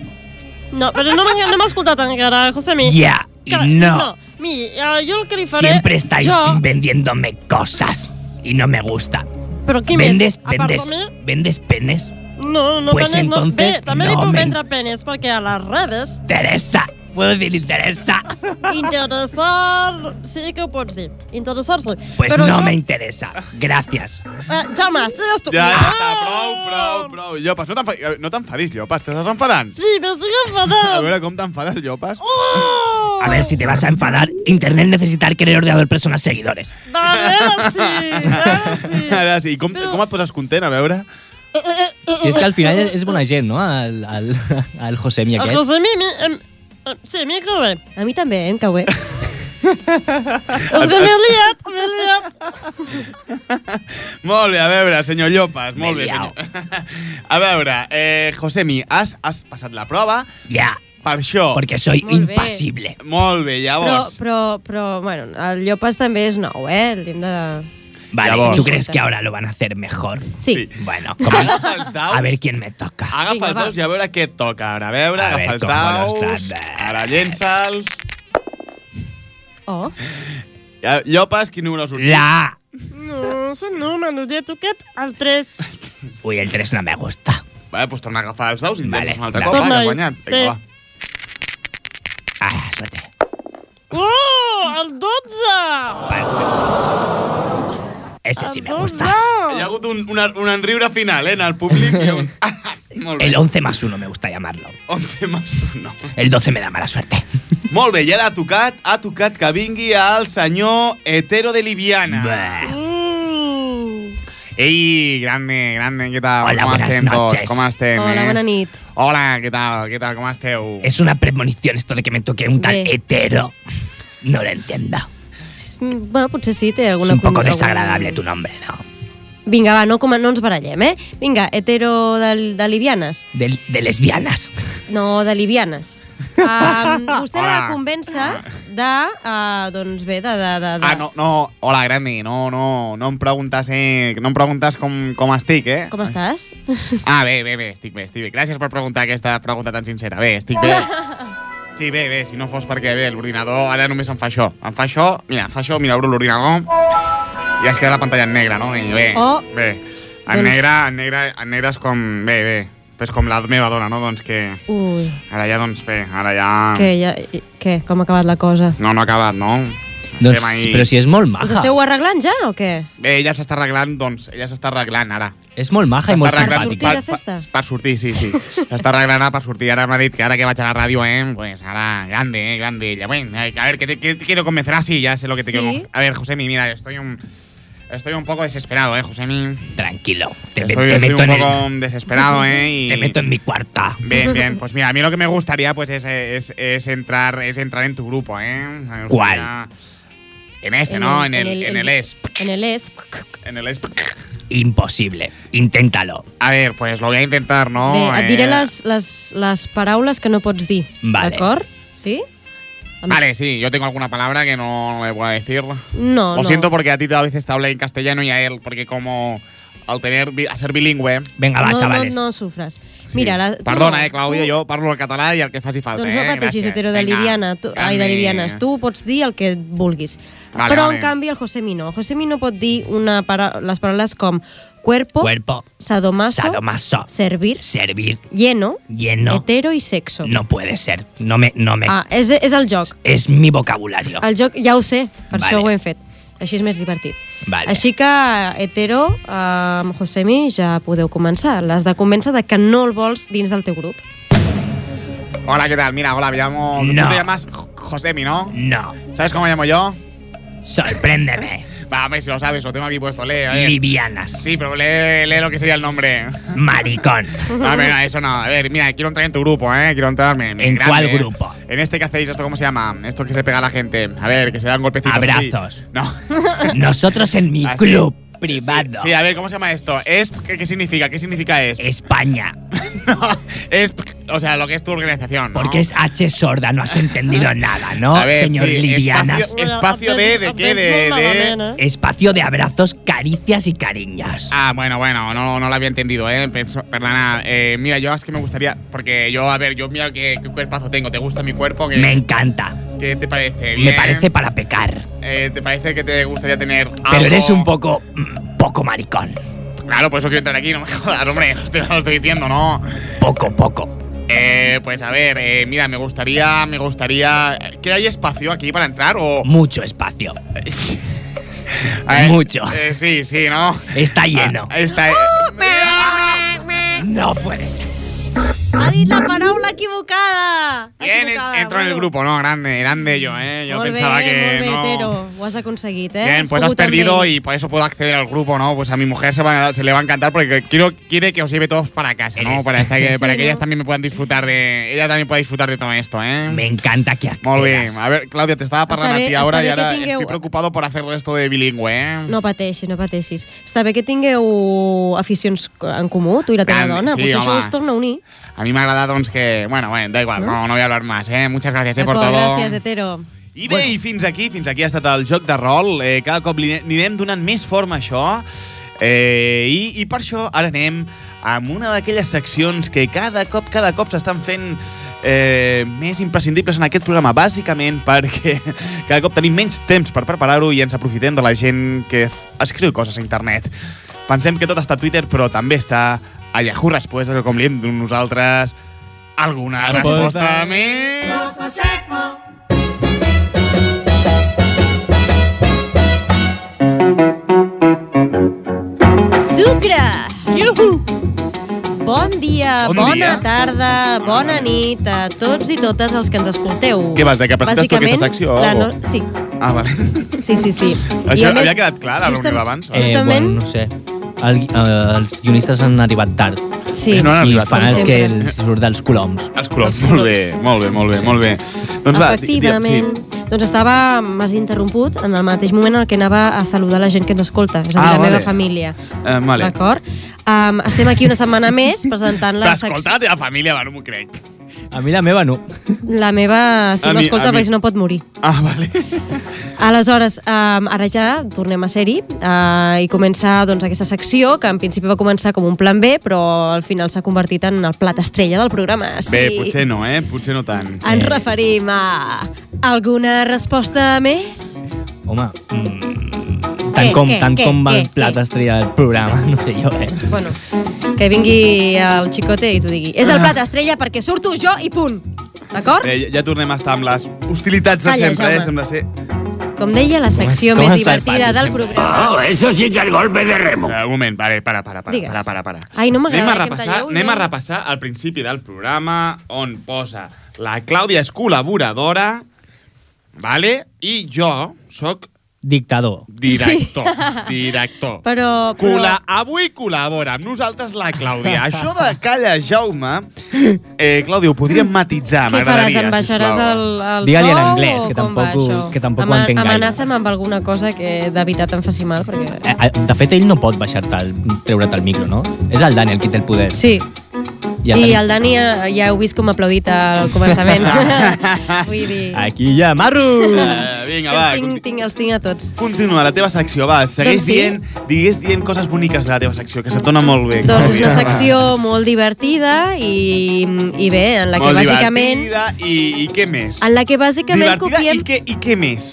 No, però no m'ha no m'ha escoltat encara, Josemi.
Ya, y
Que-
no.
no. Miri, eh, jo el que li faré...
Siempre estáis
Jo,
vendiéndome cosas. Y no me gusta.
però qui
¿Vendes,
més?
vendes,
Apart
vendes penes?
de mi? No, no,
Pues
penes, no. Bé,
entonces
també li
no
puc
me
vendre penes, perquè a les redes...
Teresa, puedo decir interesa.
Interessar... Sí que ho pots dir. Interessar-se.
Pues
Però
no
jo-
me interesa. Gracias.
Eh, Jaume, estigues tu.
Ja, ja
Ah!
està, prou, prou, prou. Llopas, no t'enfadis, no t'enfadis, Llopas, t'estàs enfadant.
Sí, Oh, m'estic
A
enfadant.
veure com t'enfades, Llopas.
A ver, si te vas a enfadar, Internet necesita querer ordenador personas seguidores.
Ara sí.
Ara sí, com, com et poses content, a veure?
Si és que al final és bona gent, no? El, el, el Josemi
El Ah,
aquest.
José Mimi... Em... em- Sí, a mi em cau bé.
A mi també, eh, em cau bé.
És que m'he liat, m'he liat.
Molt bé, a veure, senyor Llopas, molt
M'he
bé,
liao.
senyor. A veure, eh, Josemi, has, has passat la prova.
Ja.
Per això.
Perquè soy
Molt bé. impassible.
Molt bé,
Però,
llavors.
però, però, bueno, el Llopas també és nou, eh? Li hem de...
Vale,
Llavors.
¿tú crees que ahora lo van a hacer mejor?
Sí.
Bueno, como- a ver quién me toca.
Agafa els daus i a veure què et toca. Ara, a veure,
A
agafa
ver
els
cómo los
daus. Ara, llença'ls.
Oh.
Ja, Llopas, quin número surt?
La.
No, són números, ja he tocat el 3.
Uy, el 3 no me gusta.
Vale, doncs
pues
torna a agafar els daus i vale, un altre
la-
cop, va, que
Torna-hi.
has guanyat.
eh.
Sí.
Vinga, va.
Ah, suerte.
Oh, el 12!
Ese sí me gusta.
Hi ha hagut un, un, un enriure final, eh, en el públic. i Un... Molt bé.
El 11 más 1 me gusta llamarlo.
11 más 1.
El 12 me da mala suerte.
Molt bé, ja l'ha tocat. Ha tocat que vingui el senyor Hetero de Liviana.
Uh.
Ei, grande, grande, què tal?
Hola,
com
buenas
estem
noches.
Tots? Com estem,
Hola,
eh?
bona nit.
Hola, què tal? Què tal? Com esteu?
Es una premonición esto de que me toque un tal
Ve.
hetero. No lo entiendo.
Mm, Bueno, potser sí, té
Es
alguna...
un poco
algun-
desagradable tu nombre, ¿no?
Vinga, va, no, com, no ens barallem, eh? Vinga, hetero de, de livianes.
De, de lesbianas.
No, de livianes. Um, vostè l'ha
Hola.
de convèncer de... Uh, doncs bé, de... de, de, de...
Ah, no, no, hola, grande, no, no, no em preguntes, eh, no em preguntes com, com estic, eh?
Com estàs?
Ah, bé, bé, bé, estic bé, estic bé. Gràcies per preguntar aquesta pregunta tan sincera. Bé, estic bé. Sí, bé, bé, si no fos perquè bé, l'ordinador ara només em fa això. Em fa això, mira, fa això, mira, obro l'ordinador i es queda la pantalla en negre, no? I bé,
Oh.
bé. En
Doncs-
negre, en negre, en negre és com, bé, bé, és com la meva dona, no? Doncs que
Ui,
ara ja, doncs bé, ara ja...
que ja... i- Què? Com ha acabat la cosa?
No, no ha acabat, no?
Doncs, però si és molt
Ah.
Us
maja.
Pues esteu arreglant ja o què?
Bé, ella s'està arreglant, doncs, ella s'està arreglant ara.
És molt maja i molt
S'està
Per
arreglant
sortir de festa?
Per sortir, sí, sí. S'està arreglant ara per sortir. Ara m'ha dit que ara que vaig a la ràdio, eh, pues ara, grande, eh, grande. Ya, bueno, eh, a ver, que te, que te quiero convencer así, ya sé lo que te
Sí.
quiero. A ver, Josemi, mira, estoy un... Estoy un poco desesperado, eh, Josemi.
Tranquilo. Te,
Estoy,
te
estoy
meto en
un
el-
poco desesperado, eh, y...
te meto en mi cuarta.
Bien, bien. Pues mira, a mí lo que me gustaría pues es, es, es entrar es entrar en tu grupo, ¿eh? Me gustaría- En este, ¿no? En el, en el, ESP.
En el ESP.
En el ESP.
Imposible. Inténtalo.
A ver, pues lo voy a intentar, ¿no?
Bé, et diré
Eh,
les, les, les paraules que no pots dir,
Vale.
d'acord? Sí?
Vale, sí, yo tengo alguna palabra que no le voy a decir.
No,
Lo
no.
siento porque a ti a veces te habla en castellano y a él, porque como al tener bi- a ser bilingüe.
Venga, va,
no,
chavales.
No, no sufres. Mira, la, tu
Perdona,
no,
eh, Claudia,
tu-
yo parlo el català i el que faci falta,
Doncs no
eh?
pateixis,
Gràcies.
hetero de
Vinga.
Liviana. Tu, ai, de
Grande.
Livianes. Tu pots dir el que vulguis.
Vale,
Però,
vale.
en canvi, el Josemi no. El Josemi no pot dir una para les paraules com cuerpo,
Cuerpo.
sadomaso,
Sadomaso.
servir,
Servir.
lleno,
Lleno.
hetero i sexo.
No puede ser. No me. No me
Ah, és, és el joc.
Es mi vocabulario.
El joc, ja ho sé, per
Vale.
això ho hem fet. Així és més divertit.
Vale.
Així que, hetero, amb Josemi, ja podeu començar. L'has de convèncer de que no el vols dins del teu grup.
Hola, ¿qué tal? Mira, hola, me llamo.
No.
Tú te llamas Jo- Josemi, ¿no?
No.
¿Sabes cómo me llamo yo?
Sorpréndeme.
Va, hombre, si lo sabes, lo tengo aquí puesto, lee. a ver.
Livianas.
Sí, pero lee, lee lo que sería el nombre.
Maricón.
No, mira, eso no. A ver, mira, quiero entrar en tu grupo, ¿eh? Quiero entrarme.
¿En cuál grupo?
En este que hacéis, ¿esto cómo se llama? Esto que se pega a la gente. A ver, que se dan golpecitos. así.
Abrazos.
No.
Nosotros en mi
Así.
club privado.
Sí, a ver, ¿cómo se llama esto? ¿Es qué, qué significa? ¿Qué significa es?
España.
Es, o sea, lo que es tu organización. ¿no?
Porque es H sorda, no has entendido nada, ¿no,
A ver,
señor
sí,
Livianas?
espacio- Espacio de- de qué, de- de-
¿eh?
Espacio de abrazos, caricias y cariñas.
Ah, bueno, bueno, no, no lo había entendido, ¿eh? Perso- Perdona, eh, mira, yo es que me gustaría, porque yo, a ver, yo mira qué, qué cuerpazo tengo, ¿te gusta mi cuerpo? ¿Qué,
Me encanta.
qué te parece?
Me
¿Bien?
parece para pecar.
Eh, ¿Te parece que te gustaría tener
Pero
algo?
eres un poco. mm, poco maricón.
Claro, por eso quiero entrar aquí, no me jodas, hombre, no estoy- no lo estoy diciendo, ¿no?
Poco, poco.
Eh, pues a ver, eh, mira, me gustaría, me gustaría. ¿Que hay espacio aquí para entrar o.?
Mucho espacio.
A ver,
Mucho.
eh, sí, sí, ¿no?
Está lleno.
Ah, está.
No puede ser.
Ha dit la paraula equivocada!
Bien,
equivocada.
entro en el grupo, ¿no? Grande, grande yo, ¿eh? Yo pensaba
bé,
que.
molt bé,
no.
Tero. Ho has aconseguit, eh?
Bien, pues has
pogut amb
perdido
ell.
y por eso puedo acceder al grupo, ¿no? Pues a mi mujer se, va- se le va a encantar porque quiero, quiere que os lleve todos para casa, ¿no?
Eres-
Para, esta- que,
Sí,
para que
¿no?
ellas también me puedan disfrutar de. Ella también pueda disfrutar de todo esto, ¿eh?
Me encanta que accedas.
Muy bien. A ver, Claudia, te estaba
bé-
parlant a ti
està
ahora
bé
y
que
ahora
tingueu-
estoy preocupado por hacer esto de bilingüe, ¿eh?
No pateixis, no pateixis. Està bé que tingueu aficions en comú, tu i la teva
Gran-
dona.
sí,
Potser això
home.
us torna a unir.
A mí me agrada, doncs, que... Bueno, bueno, da igual, no, no, voy a hablar más, ¿eh? Muchas gracias, ¿eh? Por todo.
D'acord, gràcies, hetero.
I bé, i fins aquí, fins aquí ha estat el joc de rol. Eh, cada cop li anirem donant més forma a això. Eh, i, I per això ara anem amb una d'aquelles seccions que cada cop, cada cop s'estan fent eh, més imprescindibles en aquest programa, bàsicament perquè cada cop tenim menys temps per preparar-ho i ens aprofitem de la gent que escriu coses a internet. Pensem que tot està a Twitter, però també està a Yahoo Respostes, o com li hem dit nosaltres, alguna
Resposta.
resposta més.
Sucre! Yuhu! Bon dia,
Bon
bona
dia.
tarda, bona nit a tots i totes els que ens escolteu.
Què vas, de que presentes tu
Bàsicament,
aquesta secció,
La
o?
no... Sí,
Ah, vale.
sí, sí. sí. I
Això
a més-
havia quedat clar, la reunió d'abans?
Eh,
Justament-
bueno, no sé. El, eh, els guionistes han arribat tard.
Sí. No han arribat
I fan
tard.
els que
Sempre.
els surt dels coloms.
Els coloms, molt bé, molt bé, molt bé, molt bé. Doncs va, di- digue'm, sí.
Efectivament. Doncs estava, m'has interromput, en el mateix moment en el que anava a saludar la gent que ens escolta, és a dir,
Ah,
la
vale.
meva família.
Eh, vale.
D'acord? Um, estem aquí una setmana més presentant la
T'ha escoltat
secció.
la teva família, va, no m'ho crec.
A mi la meva no.
La meva, si
A mi-
m'escolta,
a mi-
veig, no pot morir.
Ah, vale.
Aleshores, um, ara ja tornem a ser-hi uh, i comença doncs, aquesta secció, que en principi va començar com un plan B, però al final s'ha convertit en el plat estrella del programa. Sí. Ah,
Bé, potser no, eh? Potser no tant.
Ens referim a... Alguna resposta més?
Home, mm, tant com,
què,
tant
què,
com va
què,
el plat estrella del programa, no sé jo, eh?
Bueno, que vingui el xicote i t'ho digui. És el plat estrella perquè surto jo i punt. D'acord?
Eh, ja- ja tornem a estar amb les hostilitats de
Calla,
sempre, eh?
Jaume.
Sembla ser...
Com deia, la secció
Com
més
està el
divertida
paio,
del
sempre?
programa.
eso sí que el golpe de remo. Eh, un moment, vale, para, para, para,
Digues.
para, para, para.
Ai, no m'agrada
anem a
que em
repassar,
talleu, eh?
anem
no.
a repassar al principi del programa on posa la Clàudia és col·laboradora, vale? i jo sóc
Dictador.
director. Director.
Però, però...
Col·la avui col·labora amb nosaltres la Clàudia. Això de calla, Jaume... Eh, Clàudia, ho podríem matitzar,
Què faràs?
m'agradaria,
Em baixaràs
sisplau.
el, el
Digue-li
sou?
en anglès, que
o com
tampoc
va
ho-
això?
que tampoc ho
Ama-
entenc gaire.
Amenaça'm amb alguna cosa que de veritat em faci mal, perquè...
Eh, eh, De fet, ell no pot baixar-te, el, treure't el micro, no? És el Dani el qui té el poder.
Sí,
Ja
i
tenim-
el Dani ja, ja heu vist com ha aplaudit al començament. Vull dir...
Aquí ja, marro!
Eh, vinga, va,
els, tinc, tinc, els tinc a tots.
Continua la teva secció, va, segueix
Doncs sí.
dient, digues dient coses boniques de la teva secció, que se't dona molt bé.
Doncs és
Clàudia.
una secció molt divertida i, i bé, en la que
Molt
bàsicament...
divertida I, i què més?
En la que bàsicament
divertida
copiem...
i, què, i què més?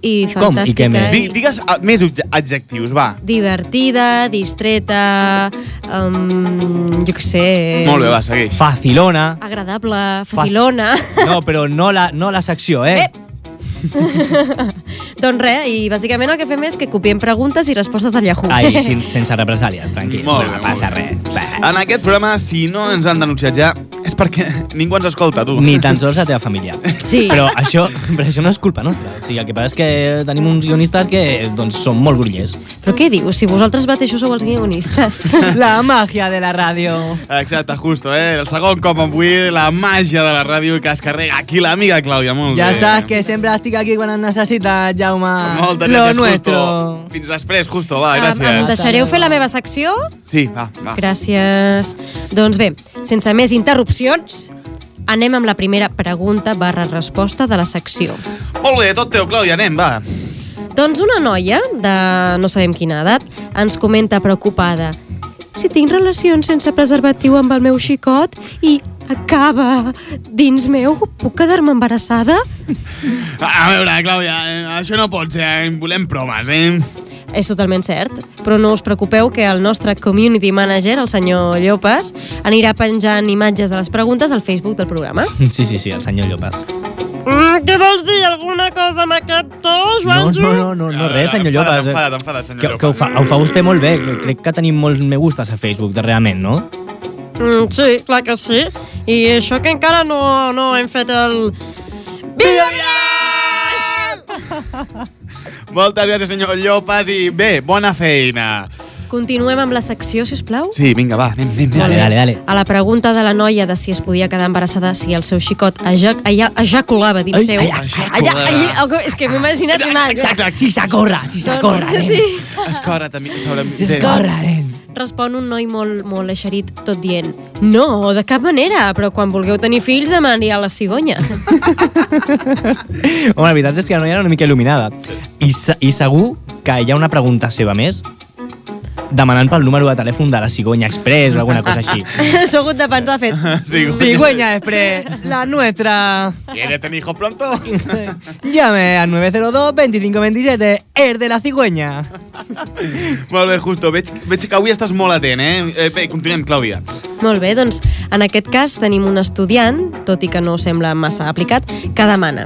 I fantàstica. eh?
Di, digues ah, més obje- adjectius, va.
divertida, distreta, um, jo què sé...
Molt bé, va, segueix.
Facilona.
Agradable, facilona...
No, però no la, no la secció, eh?
doncs res, i bàsicament el que fem és que copiem preguntes i respostes del Yahoo.
Ai, sin, sense represàlies, tranquil.
Molt bé,
no passa res.
En aquest programa, si no ens han denunciat ja, és perquè ningú ens escolta, tu.
Ni tan sols la teva família.
Sí.
Però això, però això no és culpa nostra. O sigui, el que passa és que tenim uns guionistes que doncs, són molt grollers.
Però què dius? Si vosaltres mateixos sou els guionistes.
La màgia de la ràdio.
Exacte, justo, eh? El segon cop avui, la màgia de la ràdio que es carrega aquí l'amiga Clàudia, molt bé.
que sempre estic aquí quan em necessites, Jaume.
Moltes gràcies, Justo. Fins després, Justo, va, gràcies.
Em deixareu fer la meva secció?
Sí, va, va.
Gràcies. Doncs bé, sense més interrupcions, anem amb la primera pregunta barra resposta de la secció.
Molt bé, tot teu, Clàudia, anem, va.
Doncs una noia, de no sabem quina edat, ens comenta preocupada si tinc relacions sense preservatiu amb el meu xicot i acaba dins meu, puc quedar-me embarassada?
A veure, Clàudia, eh, això no pot ser, eh? volem proves, eh?
És totalment cert, però no us preocupeu que el nostre community manager, el senyor Llopas, anirà penjant imatges de les preguntes al Facebook del programa.
Sí, sí, sí, el senyor Llopas.
Mm, què vols dir? Alguna cosa amb aquest to,
No,
Joanjo?
no, no, no, no res, senyor
Enfadat,
Llopas. eh.
enfadat, enfadat, senyor
que, que ho, fa, ho fa vostè molt bé. que Crec que tenim molts me gustes a Facebook, darrerament, no?
Mm, sí, clar que sí. I això que encara no, no hem fet el... Vida
Moltes gràcies, senyor Llopas, i bé, bona feina.
Continuem amb la secció, si us plau.
Sí, vinga, va, anem, anem, anem.
Molt bé. A la pregunta de la noia de si es podia quedar embarassada si el seu xicot ejac, eja, ejaculava dins
Ai,
seu...
ai,
allà,
ejaculava.
allà, algú- és que m'he imaginat una...
Exacte, si s'acorre, si s'acorre,
Doncs,
nen.
Sí.
Escorre, també, sobre...
Doncs,
eh?
Respon un noi molt, molt eixerit, tot dient No, de cap manera, però quan vulgueu tenir fills demani a la cigonya.
Home, la veritat és que la noia era una mica il·luminada. I, se- I segur que hi ha una pregunta seva més demanant pel número de telèfon de la Cigonya Express o alguna cosa així.
S'ho ha hagut de pensar fet.
Cigüeña Express, la nuestra.
¿Quieres tener hijos pronto?
Llame al 902-2527, es de la cigüeña.
Molt bé, Justo. Veig, veig que avui estàs molt atent, eh? eh bé, continuem, Clàudia.
Molt bé, doncs en aquest cas tenim un estudiant, tot i que no sembla massa aplicat, que demana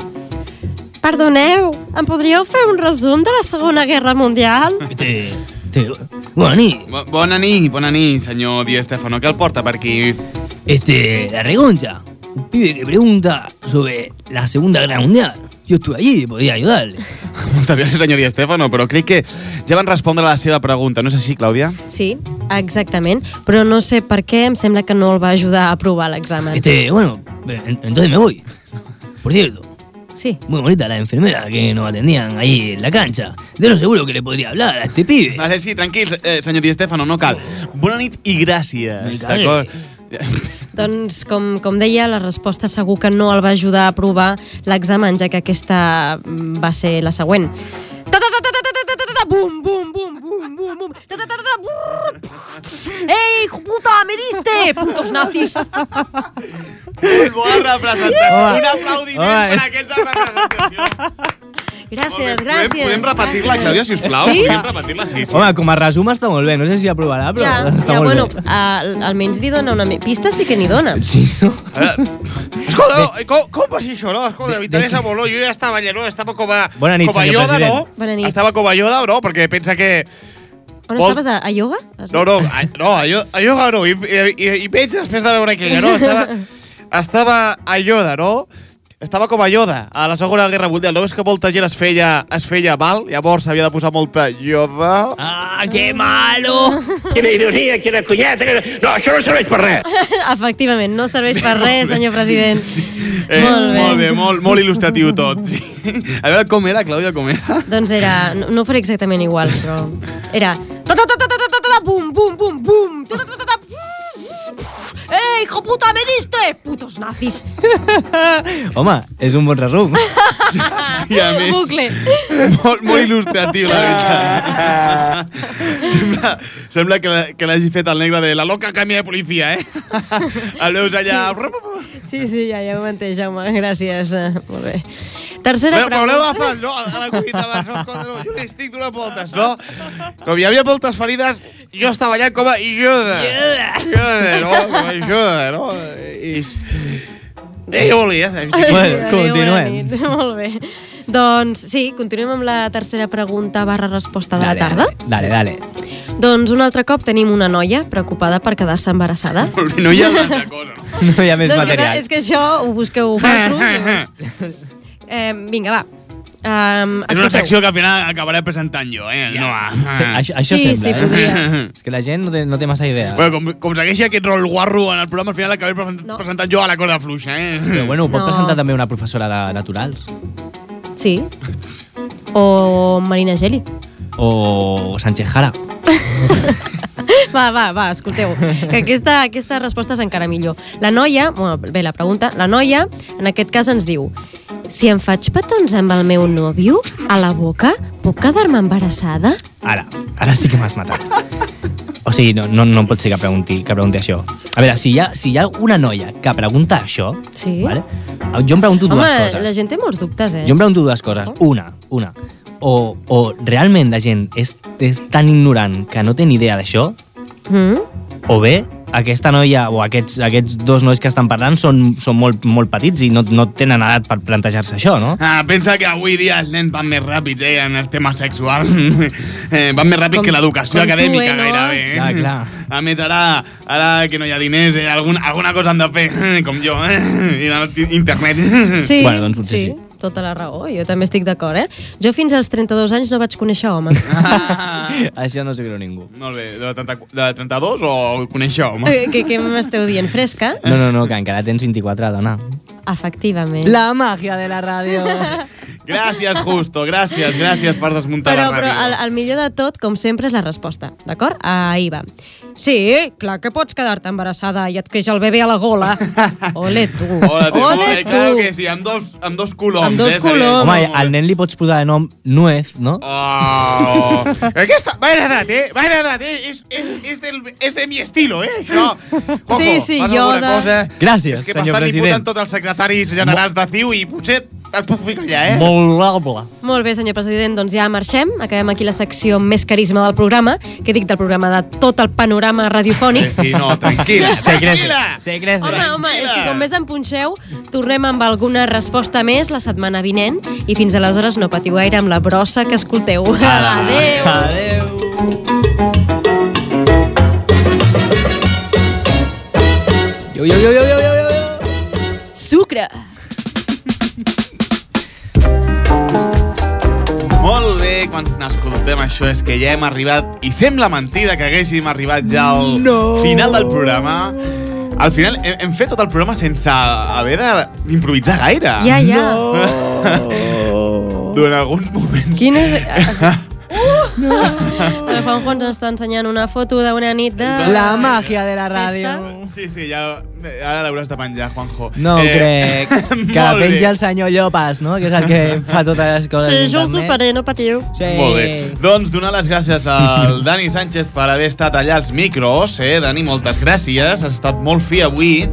Perdoneu, em podríeu fer un resum de la Segona Guerra Mundial?
Té,
té, bona nit.
Bo, bona nit, bona nit, senyor Di Stefano. Què el porta per aquí?
Este, la regoncha. Un pibe que pregunta sobre la Segunda Guerra Mundial. Yo estuve allí, podía ayudarle.
Moltes gràcies, senyor Di Stefano, però crec que ja van respondre a la seva pregunta. No és així, Clàudia?
Sí, exactament, però no sé per què em sembla que no el va ajudar a aprovar l'examen.
Este, bueno, en- entonces me voy. Por cierto.
Sí.
Muy bonita la enfermera que nos atendían ahí en la cancha. De lo seguro que le podría hablar a este pibe.
Vale, sí, tranquils, eh, senyor Di Stefano, no cal. Bona nit i
Me cagué.
gràcies, d'acord?
Doncs, com, com deia, la resposta segur que no el va ajudar a aprovar l'examen, ja que aquesta mm, va ser la següent. Ta -ta -ta -ta -ta -ta -ta -ta -ta, bum, bum, bum, bum, bum, bum. Ta -ta -ta -ta -ta, brrr, pff. ¡Ey, hijo puta, me diste! ¡Putos nazis!
Molt bona representació.
Home.
Un aplaudiment
Home.
per aquesta representació.
Gràcies,
Podem,
gràcies.
podem repetir-la, Clàudia, sisplau?
Sí?
Podem repetir-la, sí, sí.
Home, com a resum està molt bé, no sé si aprovarà, però
Ja,
està
ja
molt
bueno,
bé.
al, almenys li dona una... mi- Pista sí que n'hi dona.
Sí, no?
Escolta, no, eh, com, com va ser això, no? Escolta, m'interessa molt, no? Jo ja estava allà, no? Estava com a,
Bona nit,
com a
senyor
Yoda, no?
president.
Bona nit.
Estava com a Yoda, no? Perquè pensa que...
On
Vol-
estaves, a, a ioga?
No, no, a, no, a Yo- a Yoda no. I, i, i veig després de veure aquella, no? Estava, estava a Yoda, no? Estava com a Yoda a la Segona Guerra Mundial. No és que molta gent es feia, es feia mal, llavors s'havia de posar molta Yoda...
¡Ah, qué malo! ¡Qué ironía, qué una cuñata! Que... No, això no serveix per res.
Efectivament, no serveix per res, senyor president.
Eh,
Molt bé.
Molt bé, molt, molt il·lustratiu tot. Sí. A veure com era, Clàudia, com era?
Doncs era... No, no ho faré exactament igual, però... Era... Ta -ta -ta -ta -ta -ta -ta -ta, bum, bum, bum, bum! Ta -ta -ta -ta -ta, bum, bum. ¡Eh, hijo puta, me diste! ¡Putos nazis!
Home, és un bon resum.
I a més,
Bucle.
molt, molt il·lustratiu, la
Ah.
veritat. sembla, sembla que, la- que l'hagi fet el negre de la loca camia de policia, eh? El veus allà...
Sí, sí, ja, ja ho entenc, Jaume. Gràcies. eh, Molt bé. Tercera
Bueno, però l'heu
pregunta.
agafat, no? A la cuita abans, no? Escolta, no, jo li estic donant voltes, no? Com hi havia moltes ferides, jo estava allà com a Yoda. Yoda, no? Com a Yoda, no? I... Bé, jo volia, eh? saps?
Bueno,
Adéu,
continuem.
bona nit. Molt bé. Doncs sí, continuem amb la tercera pregunta barra resposta de la tarda.
Dale, dale.
Doncs un altre cop tenim una noia preocupada per quedar-se embarassada.
No hi ha una altra cosa,
no? No hi ha més
doncs
material.
És que això ho busqueu vosaltres. eh, vinga, va. Um,
És una secció que al final acabaré presentant jo, eh? No, ah.
Sí, això, això
Sí,
sembla,
sí,
eh?
podria.
És que la gent no té, no té massa idea.
Bueno, com, com segueixi aquest rol guarro en el programa, al final acabaré present- presentant jo a la corda fluixa, eh?
Però bueno, ho pot
No.
presentar també una professora de naturals.
Sí. O Marina Geli.
O Sánchez Jara.
Va, va, va, escolteu, que aquesta, aquesta resposta és encara millor. La noia, bueno, bé, la pregunta, la noia, en aquest cas ens diu si em faig petons amb el meu nòvio a la boca, puc quedar-me embarassada?
Ara, ara sí que m'has matat. O sigui, no, no, no pot ser que pregunti, que pregunti això. A veure, si hi ha, si hi ha una noia que pregunta això,
sí.
vale? jo em pregunto dues
Home,
coses.
la gent té molts dubtes, eh?
Jo em pregunto dues coses. Una, una. o, o realment la gent és, és tan ignorant que no té ni idea d'això,
Mm?
o bé aquesta noia o aquests, aquests dos nois que estan parlant són, són molt, molt petits i no, no tenen edat per plantejar-se això, no?
Ah, pensa que avui dia els nens van més ràpids, eh, en el tema sexual. eh, van més ràpid
Com-
que l'educació
com tu,
acadèmica,
eh, no?
gairebé. Eh?
Clar, clar.
A més, ara, ara que no hi ha diners, eh, algun, alguna cosa han de fer, com jo, eh? I anar a internet.
Sí,
doncs
sí, tota la raó, jo també estic d'acord, eh? Jo fins als 32 anys no vaig conèixer homes.
Ah, Això no s'ho creu ningú.
Molt bé, de, 30, de 32 o conèixer home?
Eh, què què m'esteu dient? Fresca?
No, no, no, que encara tens 24, dona.
Efectivament.
La màgia de la ràdio.
Gràcies, Justo, gràcies, gràcies per desmuntar
però,
la
però
ràdio.
el, el millor de tot, com sempre, és la resposta, d'acord? Ahí va. Sí, clar que pots quedar-te embarassada i et creix el bebè a la gola. Ole tu.
Hola, tu.
Ole
Claro
tu.
que sí, amb dos, amb dos coloms.
Amb dos
eh, Xavier?
coloms.
Home, al nen li pots posar de nom Nuez, no?
Oh. Aquesta, m'ha agradat, eh? M'ha agradat, eh? És, és, és, del, és de mi estilo, eh, això? Jojo,
Sí, sí,
fas
jo
alguna
de-
cosa?
Gràcies,
És que
senyor
m'estan
president.
imputant tots els secretaris generals de CIU i potser et puc ficar allà, eh?
Molt amable.
Molt bé, senyor president, doncs ja marxem. Acabem aquí la secció amb més carisma del programa, que dic del programa de tot el panorama radiofònic.
Sí, sí, no, tranquil·la,
Se crece,
tranquil·la.
se crece.
Home, home, és que com més em punxeu, tornem amb alguna resposta més la setmana vinent i fins aleshores no patiu gaire amb la brossa que escolteu.
Ara.
Adéu!
Adéu! Yo, yo, yo, yo, yo, yo, yo.
Sucre!
Molt bé, quan escoltem això és que ja hem arribat, i sembla mentida que haguéssim arribat ja al
No.
final del programa. Al final hem, hem fet tot el programa sense haver de- d'improvisar gaire.
Ja, ja.
No. Durant alguns moments...
Quin és...
eh,
No. El Juanjo ens està ensenyant una foto d'una nit de...
La
màgia de la
ràdio.
Sí, sí, ja... Ara l'hauràs de penjar, Juanjo. Eh,
No ho crec. Que la
molt bé.
penja el senyor Llopas, no? Que és el que fa totes les coses a internet.
no patiu.
Sí.
Molt bé. Doncs donar les gràcies al Dani Sánchez per haver estat allà als micros. Eh, Dani, moltes gràcies. Has estat molt fi avui.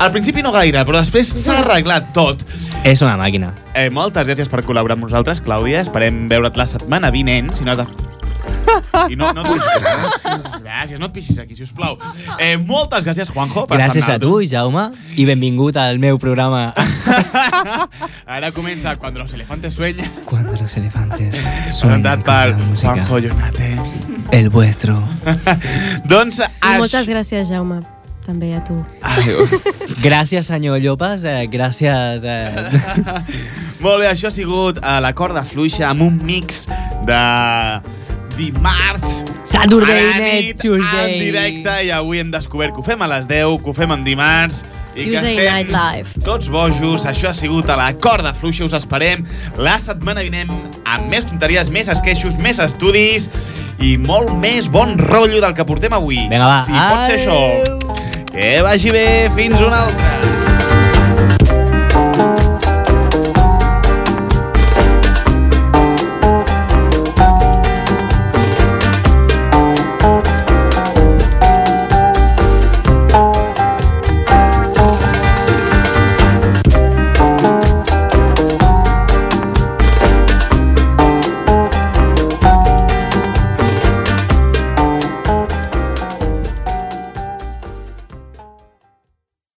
Al principi no gaire, però després s'ha arreglat tot.
És una màquina.
Eh, moltes gràcies per col·laborar amb nosaltres, Clàudia. Esperem veure't la setmana vinent. Si no has de... I no, no gràcies, gràcies, no et pixis aquí, si us plau. Eh, moltes gràcies, Juanjo, per
Gràcies
estar
a tu, Jaume, i benvingut al meu programa
Ara comença Quan los elefantes sueñan.
Cuando los elefantes sueñan
Presentat per Juanjo Llonate.
El vuestro.
doncs... ah,
I moltes gràcies, Jaume, també a tu.
Gràcies, senyor Llopas, eh, gràcies... Eh...
Molt bé, això ha sigut a la corda fluixa amb un mix de dimarts
Saturday
a la
night,
nit,
Tuesday.
en directe i avui hem descobert que ho fem a les 10, que ho fem en dimarts i
Tuesday
que
Night
estem
Live.
tots bojos. Això ha sigut a la corda fluixa, us esperem la setmana vinent amb més tonteries, més esqueixos, més estudis i molt més bon rotllo del que portem avui.
Vinga, va.
Si pot ser això. Que vagi bé, fins una altra.